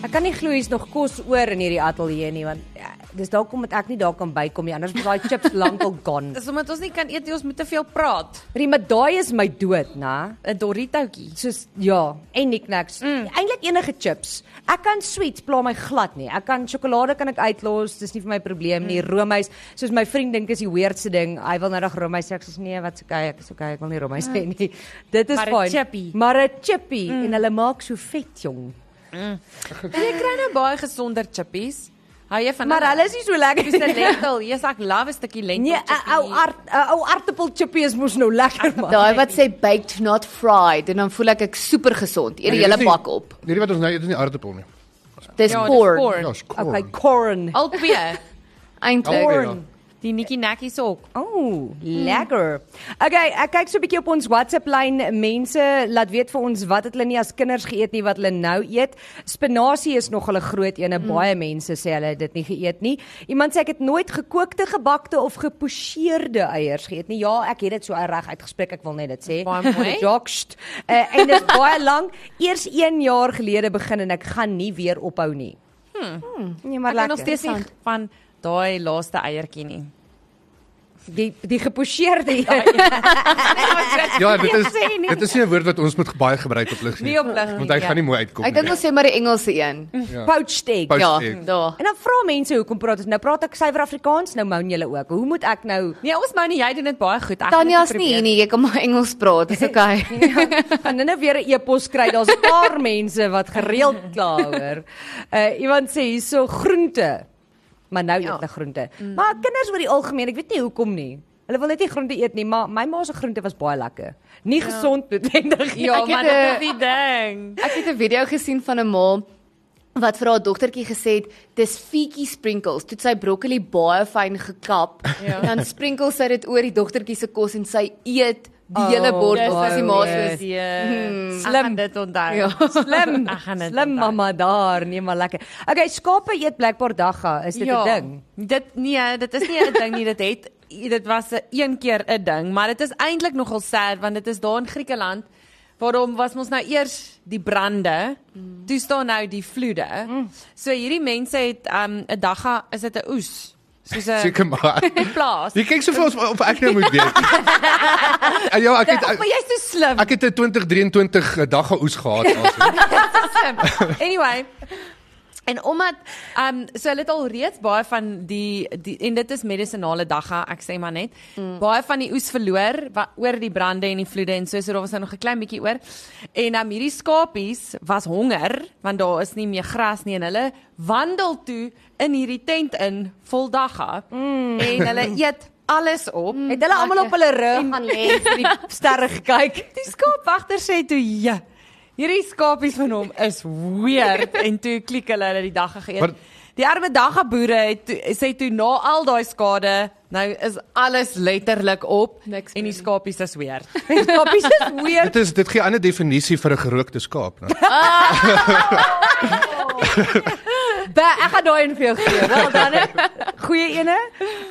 Ek kan nie glo hier's nog kos oor in hierdie ateljee nie want ja, dis dalk omdat ek nie daar kan bykom nie anders was daai chips lankal gone.
Dis omdat ons nie kan eet nie, ons moet te veel praat.
Rie, maar daai is my dood, né?
'n Doritoutjie.
Soos ja, en knickknacks. Mm. Eintlik enige chips. Ek kan sweets pla my glad nie. Ek kan sjokolade kan ek uitlos, dis nie vir my probleem nie. Roomys, soos my vriend dink is die weirdste ding. Hy wil nou dag roomys sê ek sê nee, wat's okay, ek is okay, ek wil nie roomys hê nie. Dit is
Maar 'n
fyn.
chippie.
Maar 'n chippie mm. en hulle maak so vet jong.
En jy kry nou baie gesonder chippies. Hou jy van
Maar hulle is nie so lekker
dis 'n lentil. Jy's ek love 'n stukkie lentil.
Nee, 'n ou
chippie.
aard 'n ou aartappel chippie is mos nou lekker man.
Daai wat sê baked not fried en dan voel ek ek super gesond. Eet die
Nee, dit is
hele
nie-
bak op.
Nee, die wat ons nou eet is nie aardappel nie.
Dis
Ja, dis
corn
corn.
Ja, is corn.
Okay, corn.
Al twee.
eintlik.
Corn.
Die Nikki Nakkies ook.
Ooh, Oh,
Hmm.
lekker. Okay, ek kyk so 'n bietjie op ons WhatsApp lyn. Mense laat weet vir ons wat het hulle nie as kinders geëet nie wat hulle nou eet. Spinasie is nog hulle groot een.
Hmm.
Mm. Baie mense sê hulle het dit nie geëet nie. Iemand sê ek het nooit gekookte, gebakte of gepocheerde eiers geëet nie. Ja, ek het dit so reg uitgespreek. Ek wil net dit sê.
Baie mooi.
Jokst. Uh, en dit is baie lank. Eers 1 jaar gelede begin en ek gaan nie weer ophou nie. Hmm. Nee, maar lekker.
Ek kan nog steeds nie van daai laaste eiertjie nie.
die die gepocheerde ja,
Ja, dit is
sê nie.
dit is nie 'n woord wat ons moet baie gebruik op lig nie.
Nie op lig nie,
Want hy
ja.
gaan nie mooi uitkom
Ek dink
nie.
ons sê maar die Engelse een.
poached egg.
Poached
Ja,
egg.
daar.
En dan vra mense hoekom praat ons nou praat ek suiwer Afrikaans nou moun julle ook. Hoe moet ek nou
Nee, ons mou nie jy doen dit baie goed. Ek
Tanja's nie hier nie, jy kan maar Engels praat, dis okay.
gaan hulle nou weer 'n e-pos kry? Daar's 'n paar mense wat gereeld kla hoor. Uh iemand sê hierso groente. Maar nou
Ja.
eet hulle groente.
Mm.
Maar kinders oor die algemeen, ek weet nie hoekom nie. Hulle wil net nie groente eet nie, maar my ma se groente was baie lekker. Nie gesond noodwendig nie.
Ja,
Ek het
maar dit
een-
is die ding.
Ek het 'n video gesien van 'n ma wat vir haar dogtertjie gesê het dis fietjie sprinkles. Toe het sy broccoli baie fyn gekap. Ja. Dan sprinkels sy dit oor die dogtertjie se kos en sy eet die hele
Oh,
bord
dis
was die ma se.
Dis hmm.
Slim.
slim dit onthou.
Ja.
Slim.
Ek gaan dit
Slim
onthou.
mamma daar, nee maar lekker. Okay, skape eet blikbaar dagga, is dit 'n
ja,
ding?
Dit nee, dit is nie 'n ding nie, dit het dit was 'n een keer 'n ding, maar dit is eintlik nogal sad want dit is daar in Griekeland waarom was ons nou eers die brande, mm. toe staan nou die vloede. Mm. So hierdie mense het um 'n dagga, is dit 'n oes? Soos 'n
Seker maar.
plaas.
Jy kyk soveel of, of ek nou moet weet. En ja, ek het
Ag,
ek,
maar jy's so slim.
ek het 'n 2023 dag geoes gehad also.
Ehm, anyway. En omdat ehm um, so hulle het al reeds baie van die, die en dit is medisonale dagga, ek sê maar net. Mm. Baie van die oes verloor wa, oor die brande en die vloede en so so daar was nou nog 'n klein bietjie oor. En ehm um, hierdie skapies was honger want daar is nie meer gras nie en hulle wandel toe in hierdie tent in vol dagga mm. en hulle eet alles op. Mm.
Het hulle almal op hulle rug
gaan lê.
die sterre gekyk?
Die skaapwagter sê toe ja. hierdie skapies van hom is weird en toe klik hulle hulle die dag
Maar-
geëet. Die arme dagga boere het toe- sê toe na al daai skade, nou is alles letterlik op
Niks
en
meer.
die skapies is weird.
Koppies is weird.
Dit is dit gee 'n ander definisie vir 'n gerookte skaap, né?
Ba, ek gaan daai een vir jou gee. Wel dan. hè. Goeie ene.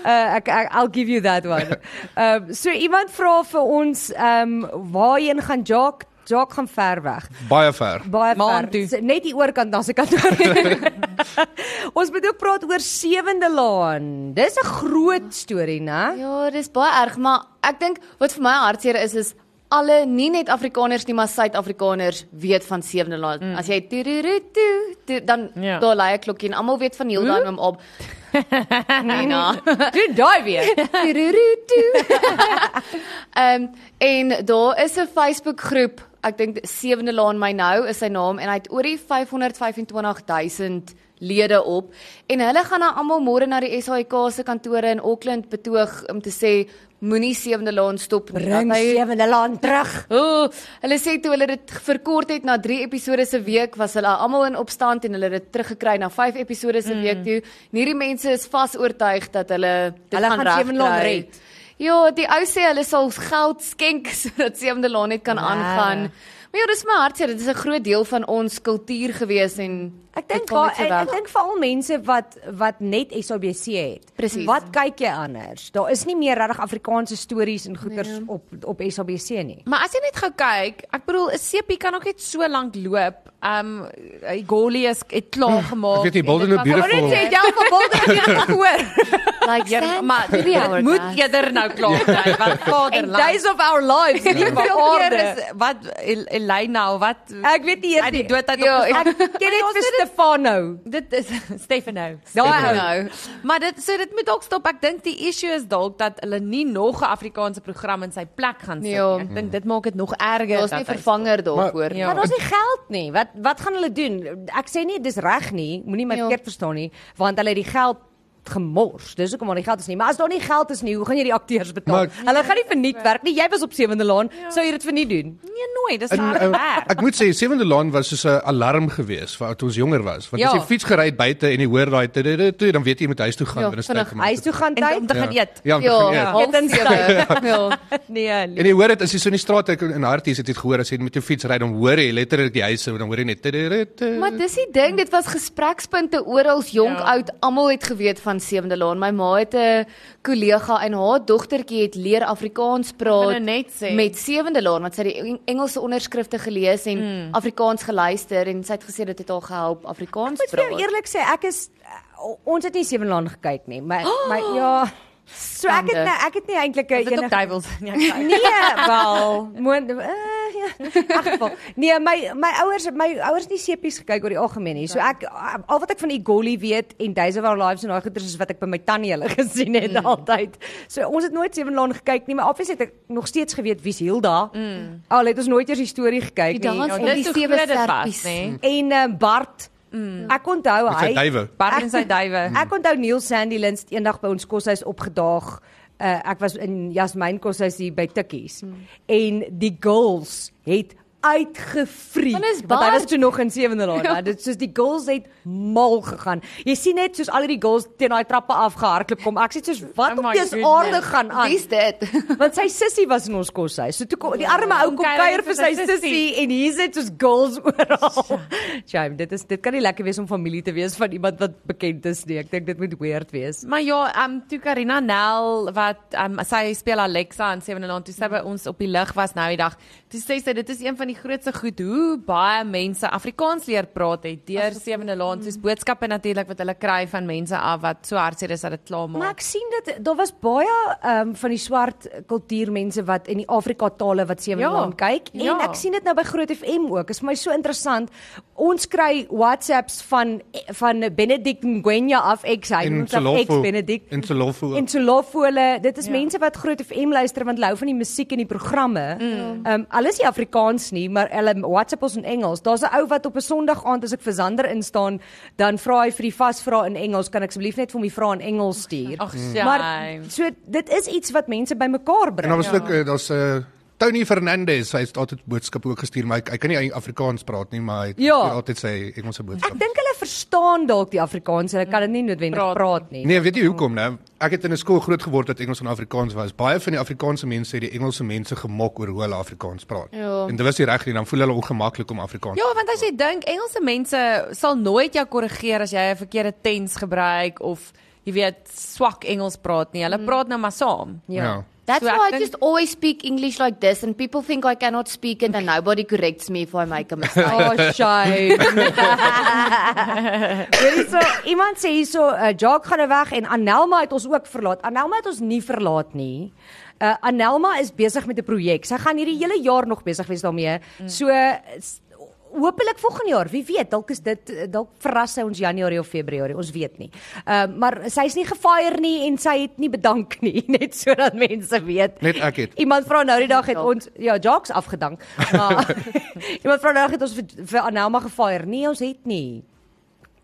Uh ek, ek I'll give you that one. Ehm um, so iemand vra vir ons ehm um, waarheen gaan Jacques? Jacques gaan ver weg.
Baie ver.
Baie
Maan
ver.
toe.
S- Net die oorkant dan se kant oor. ons moet ook praat oor Sewende Laan. Dis 'n groot storie, né?
Ja, dis baie erg, maar ek dink wat vir my hartseer is is alle nie net Afrikaners nie, maar Suid-Afrikaners weet van Sewende Laan. Mm. As jy toeroeroetoe, toe, dan
Ja.
yeah. daar lei 'n klokkie en almal weet van Hilda en hom op. Nina.
Doen daai weer.
Toeroeroetoe. Ehm en daar is 'n Facebook groep. Ek dink Sewende Laan my nou is sy naam en hy het oor die 525000 lede op en hulle gaan nou almal môre na die SAIK se kantore in Auckland betoog om te sê moenie Sewende Laan stop nie.
Bring
Dat hy-
Sewende Laan terug.
O, hulle sê toe hulle dit verkort het na 3 episode se week was hulle almal in opstand en hulle het dit teruggekry na 5 episode se mm. week toe. En Hierdie mense is vas oortuig dat hulle dit
Hulle gaan Seven Laan
regkry.
red.
Ja, die ou sê hulle sal geld skenk sodat Sewende Laan net kan
Ja.
aangaan. Maar ja, dis my hartseer, dit is 'n groot deel van ons kultuur gewees en
Ek
dit
dink
kom
daar-
net so
ek, ek
weg.
dink veral mense wat wat net SABC het.
Presies.
Wat kyk jy anders? Daar is nie meer regtig Afrikaanse stories en goeters nee. op op SABC nie.
Maar as jy net gou kyk, ek bedoel 'n seepie kan ook net so lank loop. Um hy goalie is het klaar gemaak.
Ek weet nie,
en
Bolden
dit
is
was-
beautiful.
Maar dit sê jy van Bolden het jy nog gehoor.
like
Ja, maar dit
dit
moet eerder nou klaar
Ja.
kry want vader
And days of our lives.
nie
Lieve
veel keer
aarde.
is wat El- Elena of wat
Ek weet nie
uit die
eers
doodheid
Ja,
op
ek ken dit vir Stefano. Ja.
dit is Stefano.
Daai ou.
nou.
Maar dit so dit moet ook stop. Ek dink die issue is dalk dat hulle nie nog 'n Afrikaanse program in sy plek gaan sit
Ja.
nie. Ek dink dit maak dit nog erger.
Daar's Ja, nie
dat hy-
vervanger daarvoor
Maar-
nie.
Ja.
Maar daar's nie geld nie. Wat wat gaan hulle doen? Ek sê nie dis reg nie, moenie my
Ja.
verkeerd verstaan nie, want hulle het die geld gemors. Dis hoekom daar nie geld is nie. Maar as daar nie geld is nie, hoe gaan jy die akteurs betaal?
Maar-
Hulle gaan nie verniet werk nie. Jy was op Sewende Laan, sou jy dit verniet doen?
Nee, nooit. Dis
En, eh,
harde
ou,
werk.
ek moet sê Sewende Laan was soos 'n alarm gewees vir toe ons jonger was. Want as
Ja.
jy fiets gery het buite en jy hoor daai tu- tu- tu- tu, dan weet jy jy moet huis toe gaan
Ja,
en is
vinnig
tyd gemaak.
Huis toe gaan
En om
tyd?
te gaan
Ja.
eet.
Ja, om te gaan eet.
Ja,
Eet en
sewe. Ja.
Nee. lief.
En jy hoor dit as jy so in die straat ek in Harties het jy dit gehoor as jy met jou fiets ry dan hoor jy letterlik die huise dan hoor jy net tu- tu- tu.
Maar dis die ding, dit was gesprekspunte oral, jonk,
Ja.
ja. oud, almal het geweet van Sewende Laan. My ma het 'n kollega en haar dogtertjie het leer Afrikaans
wil
praat
nou net sê.
met Sewende Laan want sy het die Eng- Engelse onderskrifte gelees en mm. Afrikaans geluister en sy het gesê dit het haar gehelp Afrikaans
Moet vir jou
praat.
eerlik sê, ek is uh, ons het nie Sewenlaan gekyk nie, maar maar ja, so ek het
Skande.
nou, ek het nie eintlik 'n
Dit is ook
enige
duiwels. Nee, ek sê.
Nee, wel, moet uh, ja, in elk geval. Nee, my my ouers my ouers het nie sepies gekyk oor die algemeen nie. So ek eh, al wat ek van Igoli weet en Days of Our Lives en daai goeters is wat ek by my tannie hulle gesien het mm. altyd. So ons het nooit Sewenlaan gekyk nie, maar obviously het ek nog steeds geweet wie's Hilda. Mm. Al het ons nooit eers die storie gekyk
Die
nie.
dans
Ja,
en
dis
die
hoe
sewe
groot dit was,
sterpies.
nê?
En uh, Bart,
Mm.
ek onthou
Met sy
hy
duwe.
Bart en sy duwe.
Ek onthou Neil Sandilands het eendag by ons koshuis opgedaag. Uh, ek was in Jasmine koshuis hier by Tikkies
Hmm.
mm. en die girls het uitgevreet.
Want dis
Want hy was
Bart.
toe nog in sewende raad, maar dit soos die girls het mal gegaan. Jy sien net soos al die girls teen daai trappe afgehardloop kom. Ek sê soos wat
Oh
op
my
dese
goodness.
aarde gaan aan?
Wie's dit?
Want sy sussie was in ons koshuis. So toe kom die arme ou kom
Kom kuier
kuier
vir
vir sy Ja.
sy
sussie en hier sit ons girls oral. Jam, dit is dit kan nie lekker wees om familie te wees van iemand wat bekend is nie. Ek dink dit moet weird wees.
Maar ja, ehm um, toe Karina Nel wat ehm um, sy speel Alexa in Seven and Land toe sy by ons op die lig was nou die dag. Toe sê sy dit is een van die grootste goed hoe baie mense Afrikaans leer praat het deur Seven and Land
mm.
soos boodskappe natuurlik wat hulle kry van mense af wat so hartseer is dat dit klaar
Maar
maak.
ek sien dat daar was baie ehm um, van die swart kultuurmense wat in die Afrika tale wat sewe
Ja,
ja, land kyk en ja.
ja.
ek sien dit nou by Groot FM ook. Is vir my so interessant. Ons kry WhatsApps van van Benedict Ngwenya af ex hy
En
noem homself ex
Solofo.
Benedict
En Solofo.
En so lof vir hulle, dit is ja. mense wat Groot FM luister want hulle hou van die musiek en die programme. Ehm mm. um, alles nie Afrikaans nie, maar hulle WhatsApp ons in Engels. Daar's 'n ou wat op 'n Sondag aand as ek vir Zander instaan, dan vra hy vir die vasvra in Engels, kan ek asseblief net vir hom die vrae in Engels stuur?
Ag,
Mm. maar
sy.
so dit is iets wat mense bymekaar
En
bring.
dan was ook eh, daar's 'n Tony Fernandez, hy het altyd boodskappe ook gestuur, maar hy, hy kan nie Afrikaans praat nie, maar hy het
Ja.
stuur altyd sy Engelse boodskappe.
Ek dink hulle verstaan dalk die Afrikaans, hulle kan dit nie noodwendig
Praat.
praat, praat nie.
Nee, weet jy hoekom nou? Ek het in 'n skool groot geword wat Engels en Afrikaans was. Baie van die Afrikaanse mense het die Engelse mense gemok oor hoe hulle Afrikaans praat.
Ja.
En dit was nie reg nie, dan voel hulle ongemaklik om Afrikaans.
Ja, want as jy dink Engelse mense sal nooit jou korrigeer as jy 'n verkeerde tens gebruik of jy weet swak Engels praat nie. Hulle
Mm.
praat nou maar saam.
Ja. ja.
That's
So ek
why I
dink-
just always speak English like this and people think I cannot speak it and nobody corrects me if I make a mistake.
Oh, shy. Weet jy so iemand sê hierso uh, Jacques gaan nou weg en Anelma het ons ook verlaat. Anelma het ons nie verlaat nie. Uh, Anelma is besig met 'n projek. Sy gaan hierdie hele jaar nog besig wees daarmee. So s- hopelik volgende jaar, wie weet, dalk is dit eh, dalk verras sy ons Januarie of Februarie, ons weet nie. Ehm uh, maar sy's nie gefire nie en sy het nie bedank nie, net sodat mense weet.
Net ek het.
Iemand vra nou die dag het
Jacques.
ons ja, Jacques afgedank. Maar iemand vra nou die dag het ons vir, vir Anelma gefire. Nee, ons het nie.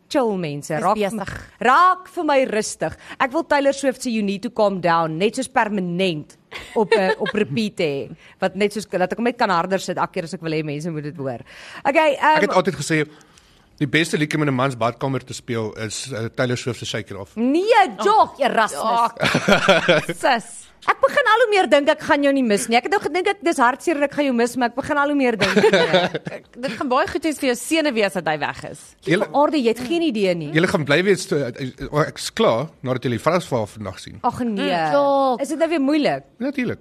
Chill mense, raak
besig.
raak vir my rustig. Ek wil Taylor Swift se You Need to Calm Down net soos permanent op eh, op repeat hê. Wat net soos dat ek hom net kan harder sit elke keer as ek wil hê mense moet dit hoor. Okay,
Ek
ehm
het
um,
altyd gesê die beste liedjie om in 'n man se badkamer te speel is uh, Taylor Swift se Shake It Off.
nee, Jog, Erasmus.
Sis.
Ek begin al hoe meer dink ek gaan jou nie mis nie. Ek het nou gedink ek dis hartseer en ek gaan jou mis, maar ek begin al hoe meer dink. nee.
Dit gaan baie goed wees vir jou seune wees dat hy weg is.
Julle
Aarde, jy het geen idee nie.
julle gaan bly wees eh, eh, oh, ek's klaar nadat julle die vrasval vandag sien.
Ag nee.
Jacques.
Is dit nou weer moeilik?
Natuurlik.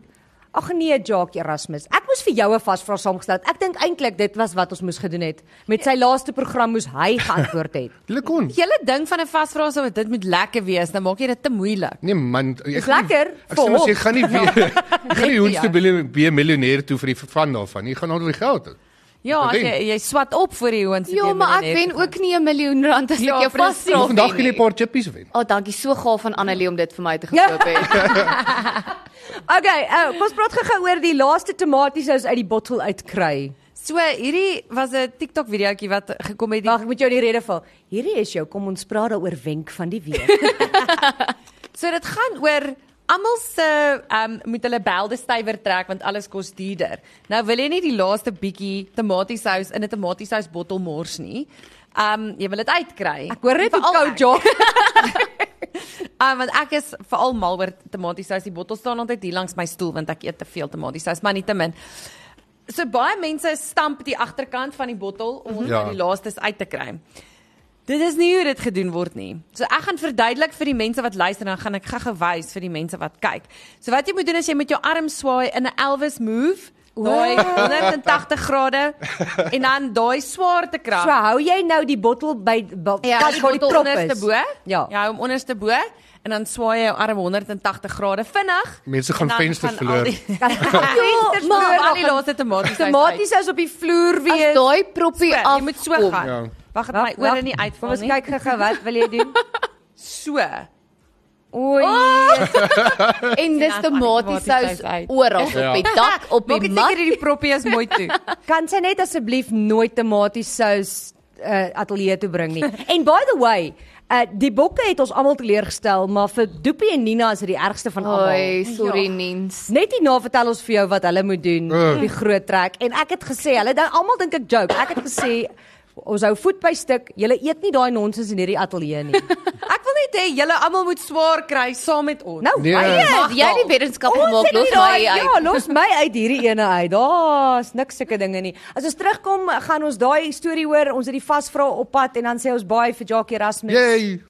Ag nee, Jacques Erasmus. Ek moes vir jou 'n vasvra saamgestel het. Ek dink eintlik dit was wat ons moes gedoen het. Met sy laaste program moes hy geantwoord het.
Julle kon.
Julle ding van 'n vasvra is dat dit moet lekker wees, dan maak jy dit te moeilik.
Nee man, ek
Dis
gaan nie-
lekker
Ek
vir
sê mos
hom.
jy gaan nie weer jy gaan nie hoens te
Ja.
biljoen- be 'n miljonair toe vir die van daarvan. Jy gaan al die geld. hê.
Ja, as
Ek
jy jy swat op vir die ouens.
Ja, maar ek wen ook nie 'n miljoen rand as
Ja,
ek jou
presies.
Jy
vasvra.
mag vandag kan jy 'n paar chippies wen.
O, oh, dankie so gaaf van Annelie om dit vir my te
Ja.
gekoop het.
Okay, uh, kom ons praat gou-gou oor die laaste tomatiesous uit die bottel uitkry.
So hierdie was 'n TikTok videoetjie wat gekom het. Die,
Wag, ek moet jou in die rede val. Hierdie is jou kom ons praat daaroor wenk van die week.
so dit gaan oor almal se ehm um, moet hulle belde stywer trek want alles kos duurder. Nou wil jy nie die laaste bietjie tomatiesous in 'n tomatiesous bottel mors nie. Ehm um, jy wil dit uitkry.
Ek hoor net hoe
Veral
koud
ek.
Jacques.
Ah, want ek is veral mal oor tomatiesous. Die bottel staan altyd hier langs my stoel want ek eet te veel tomatiesous, maar nie te min. So baie mense stamp die agterkant van die bottel om ons
Ja.
ja. die laastes uit te kry. Dit is nie hoe dit gedoen word nie. So ek gaan verduidelik vir die mense wat luister en dan gaan ek gou-gou wys vir die mense wat kyk. So wat jy moet doen is jy met jou arm swaai in 'n Elvis move, daai 180 grade en dan daai swaarte krag.
So hou jy nou die bottel by by-
Ja,
pas
die
waar die
bottel
trop
onderste
is.
bo.
Ja.
Ja, hom onderste bo en dan swaai jy jou arm 180 grade vinnig.
Mense gaan
en dan
vensters
gaan
verloor.
al die-
Kan vensters
Maar
verloor
al die
nog.
laaste tomaties.
Tomatiesous op die vloer
As
wees.
daai proppie af.
Jy moet so gaan.
Ja.
Wag, dat my
Wag,
ore
wag,
nie
Kom
uitval
ons
nie.
kyk gou-gou wat wil jy doen?
so.
Oei.
En dis
Ja,
tomatiesous
tomatiesous uit.
oral
Ja.
op die dak, op
Maak
die
dit seker
mat.
hierdie proppie is mooi toe.
Kan sy net asseblief nooit tomatiesous uh, ateljee toe bring nie. En by the way, uh, die bokke het ons almal teleurgestel, maar vir Doopie en Nina is dit die ergste van almal.
ja.
Ja.
Oei, sorry Niens.
Net hierna vertel ons vir jou wat hulle moet doen
Ugh.
op die groot trek en ek het gesê, hulle dink almal dink ek joke. Ek het gesê ons hou voet by stuk. Julle eet nie daai nonsens in hierdie ateljee nie.
Ek wil net hê julle almal moet swaar kry saam met ons.
Nou,
Nee.
why
Ja.
is-
As jy die wetenskap
Ons
maak,
het nie
los my
daai-
uit.
Ja, los my uit hierdie ene uit. Daar's niks sulke dinge nie. As ons terugkom, gaan ons daai storie hoor. Ons het die vasvra op pad en dan sê ons baie vir Jacques Erasmus.
Yay!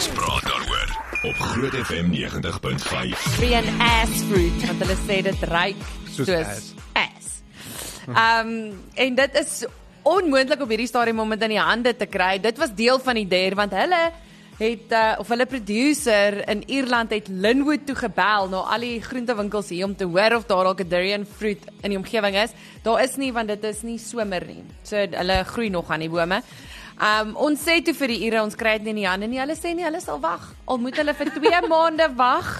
Ons praat daaroor op Groot FM 90.5.
be an ass fruit want hulle sê dit ruik
Soos
soos ass. ass. Ehm en dit is onmoontlik op hierdie stadium om dit in die hande te kry. Dit was deel van die deur want hulle het uh, of hulle producer in Ierland het Linwood toe gebel na al die groentewinkels hier om te hoor of daar dalk 'n durian fruit in die omgewing is. Daar is nie want dit is nie somer nie. So hulle groei nog aan die bome. Um ons sê toe vir die Ire ons kry dit nie in die hande nie. Hulle sê nee, hulle sal wag. Al moet hulle vir 2 maande wag.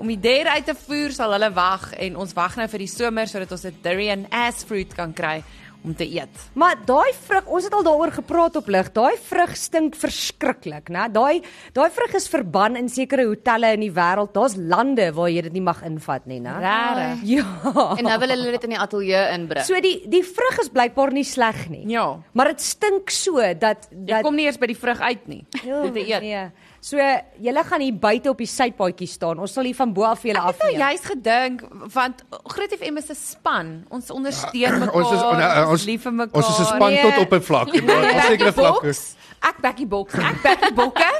Om die deur uit te voer sal hulle wag en ons wag nou vir die somer sodat ons 'n durian ass fruit kan kry om te eet.
Maar daai vrug, ons het al daaroor gepraat op lig. Daai vrug stink verskriklik, né? Daai daai vrug is verban in sekere hotelle in die wêreld. Daar's lande waar jy dit nie mag invat nie, né?
Regtig?
Ja.
En nou wil hulle dit in die ateljee inbring.
So die die vrug is blykbaar nie sleg nie.
Ja.
Maar dit stink so dat
Jy
dat
kom nie eers by die vrug uit nie. Dit te eet.
Ja. Nee. So julle gaan hier buite op die sypaadjie staan. Ons sal hier van bo af vir julle
Ek het nou
afneem.
juist gedink want Groot FM is 'n span. Ons ondersteun mekaar.
Ah, Ons is
ons,
ons
lief vir mekaar.
ons is 'n span
Nee,
tot op 'n vlak. Ons
Ek
sekere
bakkie
vlakke.
boks. Ek bakkie boks. Ek bakkie bokke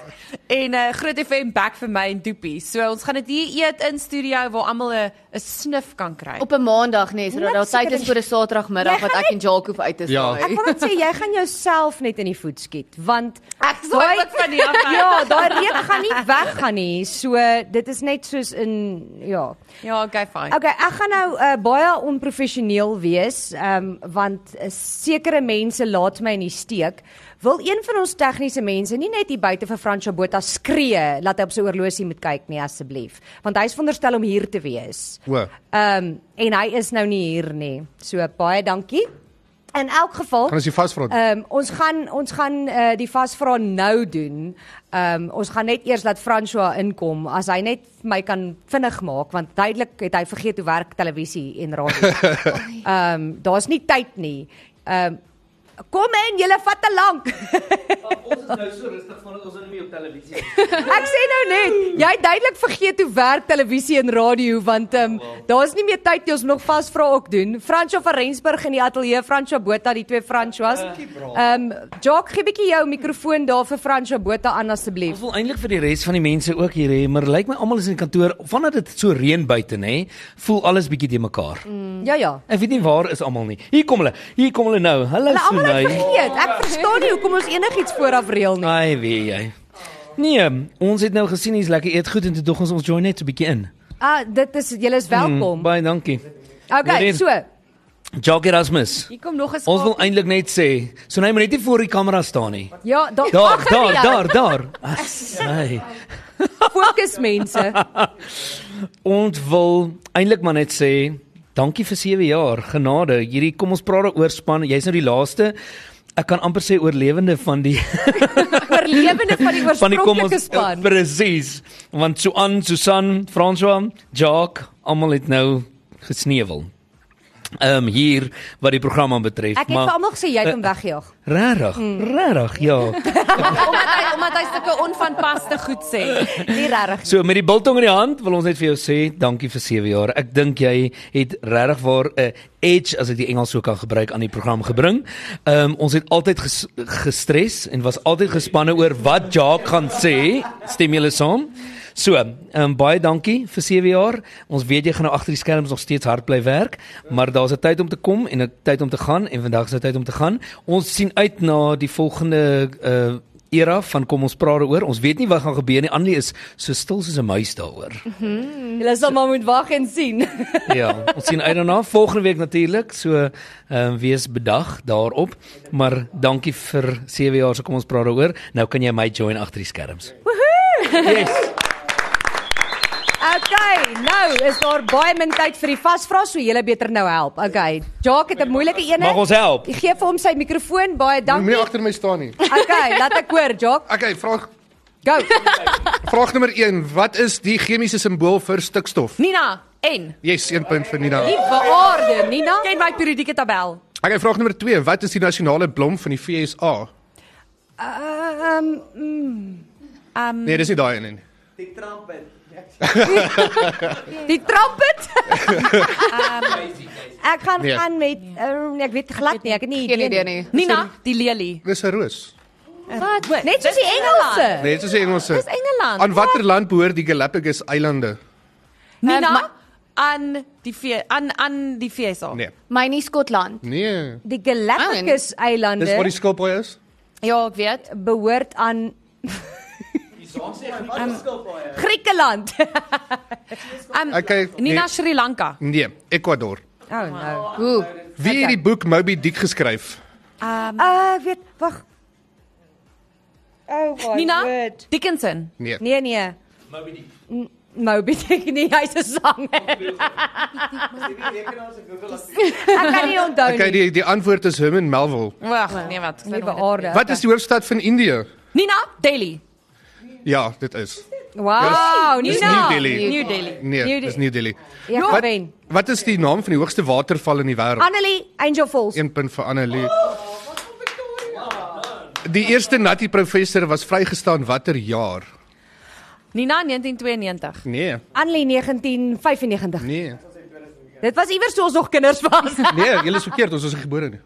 en uh, Groot FM bak vir my en Doopie. So ons gaan dit hier eet in studio waar almal 'n 'n snif kan kry.
op 'n maandag nê, sodat daar
Niks
tyd is
seker
vir 'n Saterdagmiddag
Jy
wat
gaan
Nee.
ek en Jaco uit te
Ja.
saai.
Ek wil net sê jy gaan jouself net in die voet skiet want
Ek swaai
Daai-
ook van die af.
Ja, daai reuk gaan nie weggaan nie. So dit is net soos in ja.
Ja, okay, fine.
Okay, ek gaan nou uh, baie onprofessioneel wees, ehm um, want uh, sekere mense laat my in die steek. Wil een van ons tegniese mense nie net hier buite vir Frans Jabota skree dat hy op sy oorlosie moet kyk nie asseblief, want hy's veronderstel om hier te wees.
O.
Ehm um, en hy is nou nie hier nie. So baie dankie. In elk geval
Kan ons die vasvra?
Eh,
doen?
Ehm um, ons gaan ons gaan uh, die vasvra nou doen. Ehm um, ons gaan net eers laat François inkom as hy net my kan vinnig maak want duidelik het hy vergeet hoe werk televisie en radio. Ehm um, daar's nie tyd nie. Ehm um, kom in, julle vat te lank.
Ons is nou so rustig van ons is nie meer op televisie. nie.
Ek sê nou net, jy het duidelik vergeet hoe werk televisie en radio want ehm um, daar's nie meer tyd nie. Ons moet nog vasvra ook doen. François van Rensburg in die ateljee, François Botha, die twee François. Ehm um, Jock, gee bietjie jou mikrofoon daar vir François Botha aan
Ons
asseblief.
wil eintlik vir die res van die mense ook hier hê, maar lyk my almal is in die kantoor, vandat dit so reën buite nê, voel alles bietjie te mekaar.
Ja ja.
Ek weet nie waar is almal nie. Hier kom hulle. Hier kom hulle nou. Hallo
Hulle almal het
Sunay.
vergeet. Ek verstaan nie hoekom ons enigiets vooraf reël nie.
Ai, wie jy. Nee, ons het nou gesien hier's lekker eet goed en toe dog ons ons join net so 'n bietjie in.
Ah, dit is julle is welkom.
Baie dankie.
Okay,
Nadine.
so.
Jock Erasmus.
Hier kom nog 'n
Ons wil
skaap.
eintlik net sê, Sunay moet net nie voor die kamera staan nie.
Ja, daar
Daar,
achter
daar,
jou.
daar, daar. Ai.
Fokus mense.
Ons wil eintlik maar net sê dankie vir 7 jaar genade. Hierdie kom ons praat oor span. Jy's nou die laaste. Ek kan amper sê oorlewende van die
Oorlewende van die
van die kom
oorspronklike
ons
span.
presies. Want Suan, Susan, François, Jacques, almal het nou gesneuwel. Ehm um, hier wat die program betref,
Ek het Hmm. vir almal gesê
Eh,
jy het hom weggejaag.
regtig, regtig ja.
Omdat hy omdat hy sulke onvanpaste goed sê.
Nie regtig.
So met die biltong in die hand wil ons net vir jou sê dankie vir 7 jaar. Ek dink jy het regtig waar 'n edge as ek die Engels sou kan gebruik aan die program gebring. Ehm um, ons het altyd ges gestres en was altyd gespanne oor wat Jacques gaan sê. Stem julle saam? So, ehm um, baie dankie vir 7 jaar. Ons weet jy gaan nou agter die skerms nog steeds hard bly werk, maar daar's 'n tyd om te kom en 'n tyd om te gaan en vandag is 'n tyd om te gaan. Ons sien uit na die volgende uh era van kom ons praat daaroor. Ons weet nie wat gaan gebeur nie. Annelie is so stil soos 'n muis daaroor.
Hulle sal maar moet wag en sien.
ja, ons sien uit daarna volgende week natuurlik. So ehm um, wees bedag daarop. Maar dankie vir 7 jaar se kom ons praat daaroor. Nou kan jy my join agter die skerms. Yes.
Okay, nou is daar baie min tyd vir die vasvra, so julle beter nou help. Okay. Jacques het 'n moeilike een.
Mag ons help?
Ek gee vir hom sy mikrofoon. Baie
Moenie
dankie.
agter my staan nie.
Okay, laat ek hoor, Jacques.
Okay, vraag
Go.
vraag nommer 1. Wat is die chemiese simbool vir stikstof?
Nina, en
Yes, 1 punt vir Nina.
Die verorde, Nina.
ken my periodieke tabel.
Okay, vraag nommer 2. Wat is die nasionale blom van die FSA?
Ehm mm,
Um
Nee, dis nie daai een nie.
Die trampet.
die trumpet. Ek gaan
Nee.
gaan met ehm, nee, ek weet glad nie, ek het nie
Geen idee
idee
nie.
Nina, die lelie.
Dis 'n roos.
Wat?
Net soos die Engelse.
Nee, dit is die Engelse.
Dis Engeland.
Aan watter land behoort die Galapagos eilande?
Nina
Eh, ma-
aan die vee, aan aan die VSA.
Nee.
My nie Skotland.
Nee.
Die Galapagos
Dis waar die
eilande
skilpaai is?
Ja, ek weet.
behoort aan Ehm,
Um,
Griekeland.
Um
Okay.
Nina Sri Lanka.
Nee, nee, Ecuador.
Oh no.
Hoe?
Wie het die boek Moby Dick geskryf?
Um
Ah, uh, weet, wag. Oh my
Nina
Oh, word.
Dickinson.
Nee.
Nee nee. Moby Dick nie, hy's 'n sanger. Ek kan nie onthou nie.
Okay, die die antwoord is Herman Melville.
Wag, nee wat.
Nie beaarde.
Wat is die hoofstad van Indië?
Nina Delhi.
Ja, dit is.
Wow,
Dis
Nina.
New Delhi.
New Delhi.
Nee,
New
dis
Delhi.
New Delhi.
Ja,
Wat
wen.
wat is die naam van die hoogste waterval in die wêreld?
Annelie Angel Falls.
Een punt vir Annelie. Die eerste Natty professor was vrygestaan watter jaar?
Nina 1992.
Nee,
Annelie 1995.
nee.
Dit was iewers toe ons nog kinders was.
Nee, jy is verkeerd, ons is nie gebore nie.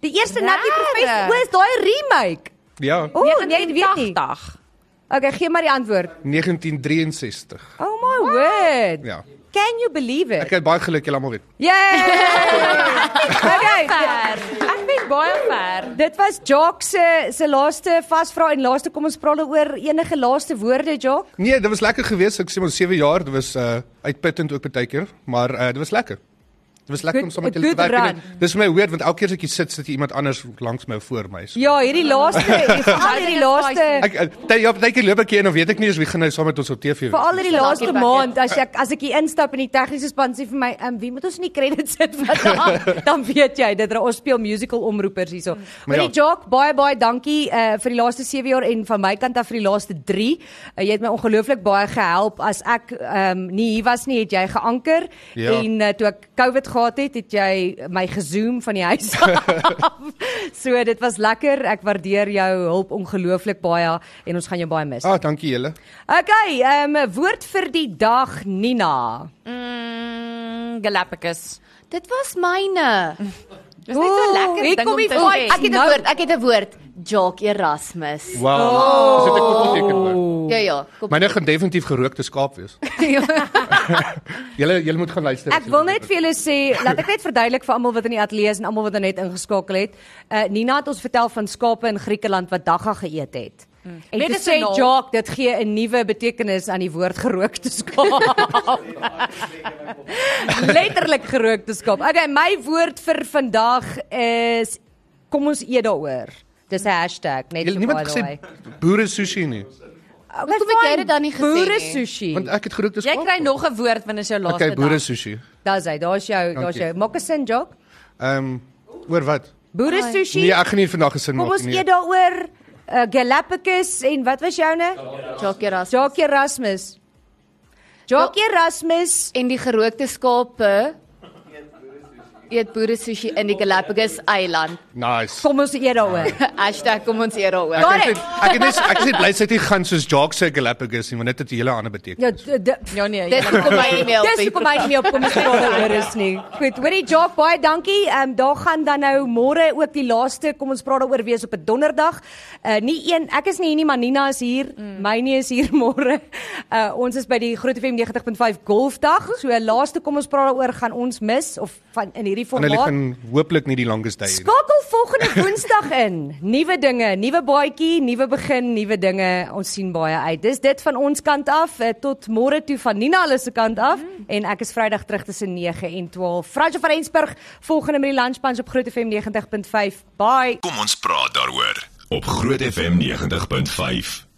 Die eerste Natty
Rarig.
Professor, hoe is daai remake?
Ja,
O, nee, ek weet nie.
1980.
Okay, gee maar die antwoord.
1963.
Oh my word.
Ja.
Can you believe it?
Ek het baie geluk julle almal weet.
Yay! okay.
Ver. Ek weet baie ver.
Dit was Jock se se laaste vasvra en laaste kom ons praat oor enige laaste woorde Jock.
Nee, dit was lekker geweest. Ek sê maar 7 jaar, dit was uh uitputtend ook baie keer, maar uh dit was lekker. Dit was lekker
Good-
om saam met julle te
good
werk. en
run.
dit- Dis vir my weird want elke keer as ek hier sit, sit hier iemand anders langs my voor my. So.
Ja, hierdie laaste, veral hierdie laaste,
Ek eh, ty- ja, baie keer loop ek hier en dan weet ek nie eens wie gaan nou saam met ons op TV wees.
veral hierdie laaste
Dankie,
maand as ek as ek hier instap en die tegniese span sê vir my, "Um wie moet ons in die credits sit vandag?" Dan weet jy dit ons speel musical omroepers hierso.
Maar
Maar
ja.
die Jock, baie baie dankie uh, vir die laaste 7 jaar en van my kant af vir die laaste 3. Uh, jy het my ongelooflik baie gehelp as ek um, nie hier was nie, het jy geanker
Ja.
en En uh, toe ek COVID gehad het, het jy my gezoom van die huis af. so dit was lekker. Ek waardeer jou hulp ongelooflik baie en ons gaan jou baie mis.
Ah, dankie julle.
Okay, ehm um, woord vir die dag Nina.
Mm, Galapagos.
Dit was myne.
Dis net so
Ooh,
lekker
hier
ding
kom
om
die
te
vibe.
sê.
Ek het 'n woord, ek het 'n woord. Jock Erasmus.
Wow. Oh. Is dit 'n koppelteken hoor?
Ja ja, kom.
Myne gaan definitief gerookte skaap wees. Julle julle moet gaan luister. as
Ek
julle
wil
dit
net vir julle sê, laat ek net verduidelik vir almal wat in die ateljee is en almal wat nou net ingeskakel het. Uh Nina het ons vertel van skape in Griekeland wat dagga geëet het.
Hm.
Mm. En dit sê
Medicinal.
Jock, dit gee 'n nuwe betekenis aan die woord gerookte skaap. Letterlik gerookte skaap. Okay, my woord vir vandag is kom ons eet daaroor. Dis 'n hashtag net
Julle
so by
niemand
the way.
gesê boere sushi nie.
Okay,
Hoekom het jy
fine.
dit dan nie gesê
Boere
nie?
sushi.
Want ek het gerookte
Jy
skaap.
kry nog 'n woord wanneer is jou laaste
Okay,
dag.
boere sushi.
Daar's hy, daar's jou, daar's
Dankie.
jou. Maak 'n sin, Jock.
Ehm oor wat?
Boere sushi.
Nee, ek nee. gaan nie vandag gesin maak
Kom ons
nie.
eet daaroor uh, Galapagos en wat was joune?
Jock Erasmus.
Jacques Erasmus. Jacques Erasmus.
en die gerookte skape eet boere sushi in die Galapagos eiland.
Nice.
Kom ons eet daaroor.
Hashtag kom ons
Ja.
eer daaroor.
Ek het ek het net ek het bly sit hier gaan soos Jacques se Galapagos nie, want dit het 'n hele ander betekenis.
Ja, d- d-
Ja nee.
Dis hoekom my e-mail.
dis hoekom hy nie op kom staan daaroor Ja, is nie. Goed, hoorie Jacques, baie dankie. Ehm um, daar gaan dan nou môre ook die laaste kom ons praat daaroor wees op 'n donderdag. Uh nie een, ek is nie hier nie, maar Nina is hier. Mm. Myne is hier môre. Uh ons is by die Groot FM 90.5 Golfdag. So laaste kom ons praat daaroor gaan ons mis of van in hierdie
En hulle
formaat.
gaan hopelik nie die longest day hê nie.
Skakel volgende Woensdag in. Nuwe dinge, nuwe baadjie, nuwe begin, nuwe dinge. Ons sien baie uit. Dis dit van ons kant af eh, tot môre toe van Nina hulle se kant af mm. en ek is Vrydag terug tussen 9 en 12. Fransjo van Rensburg volgende met die Lunch Punch op Groot FM 90.5. Bye.
Kom ons praat daaroor op Groot FM 90.5.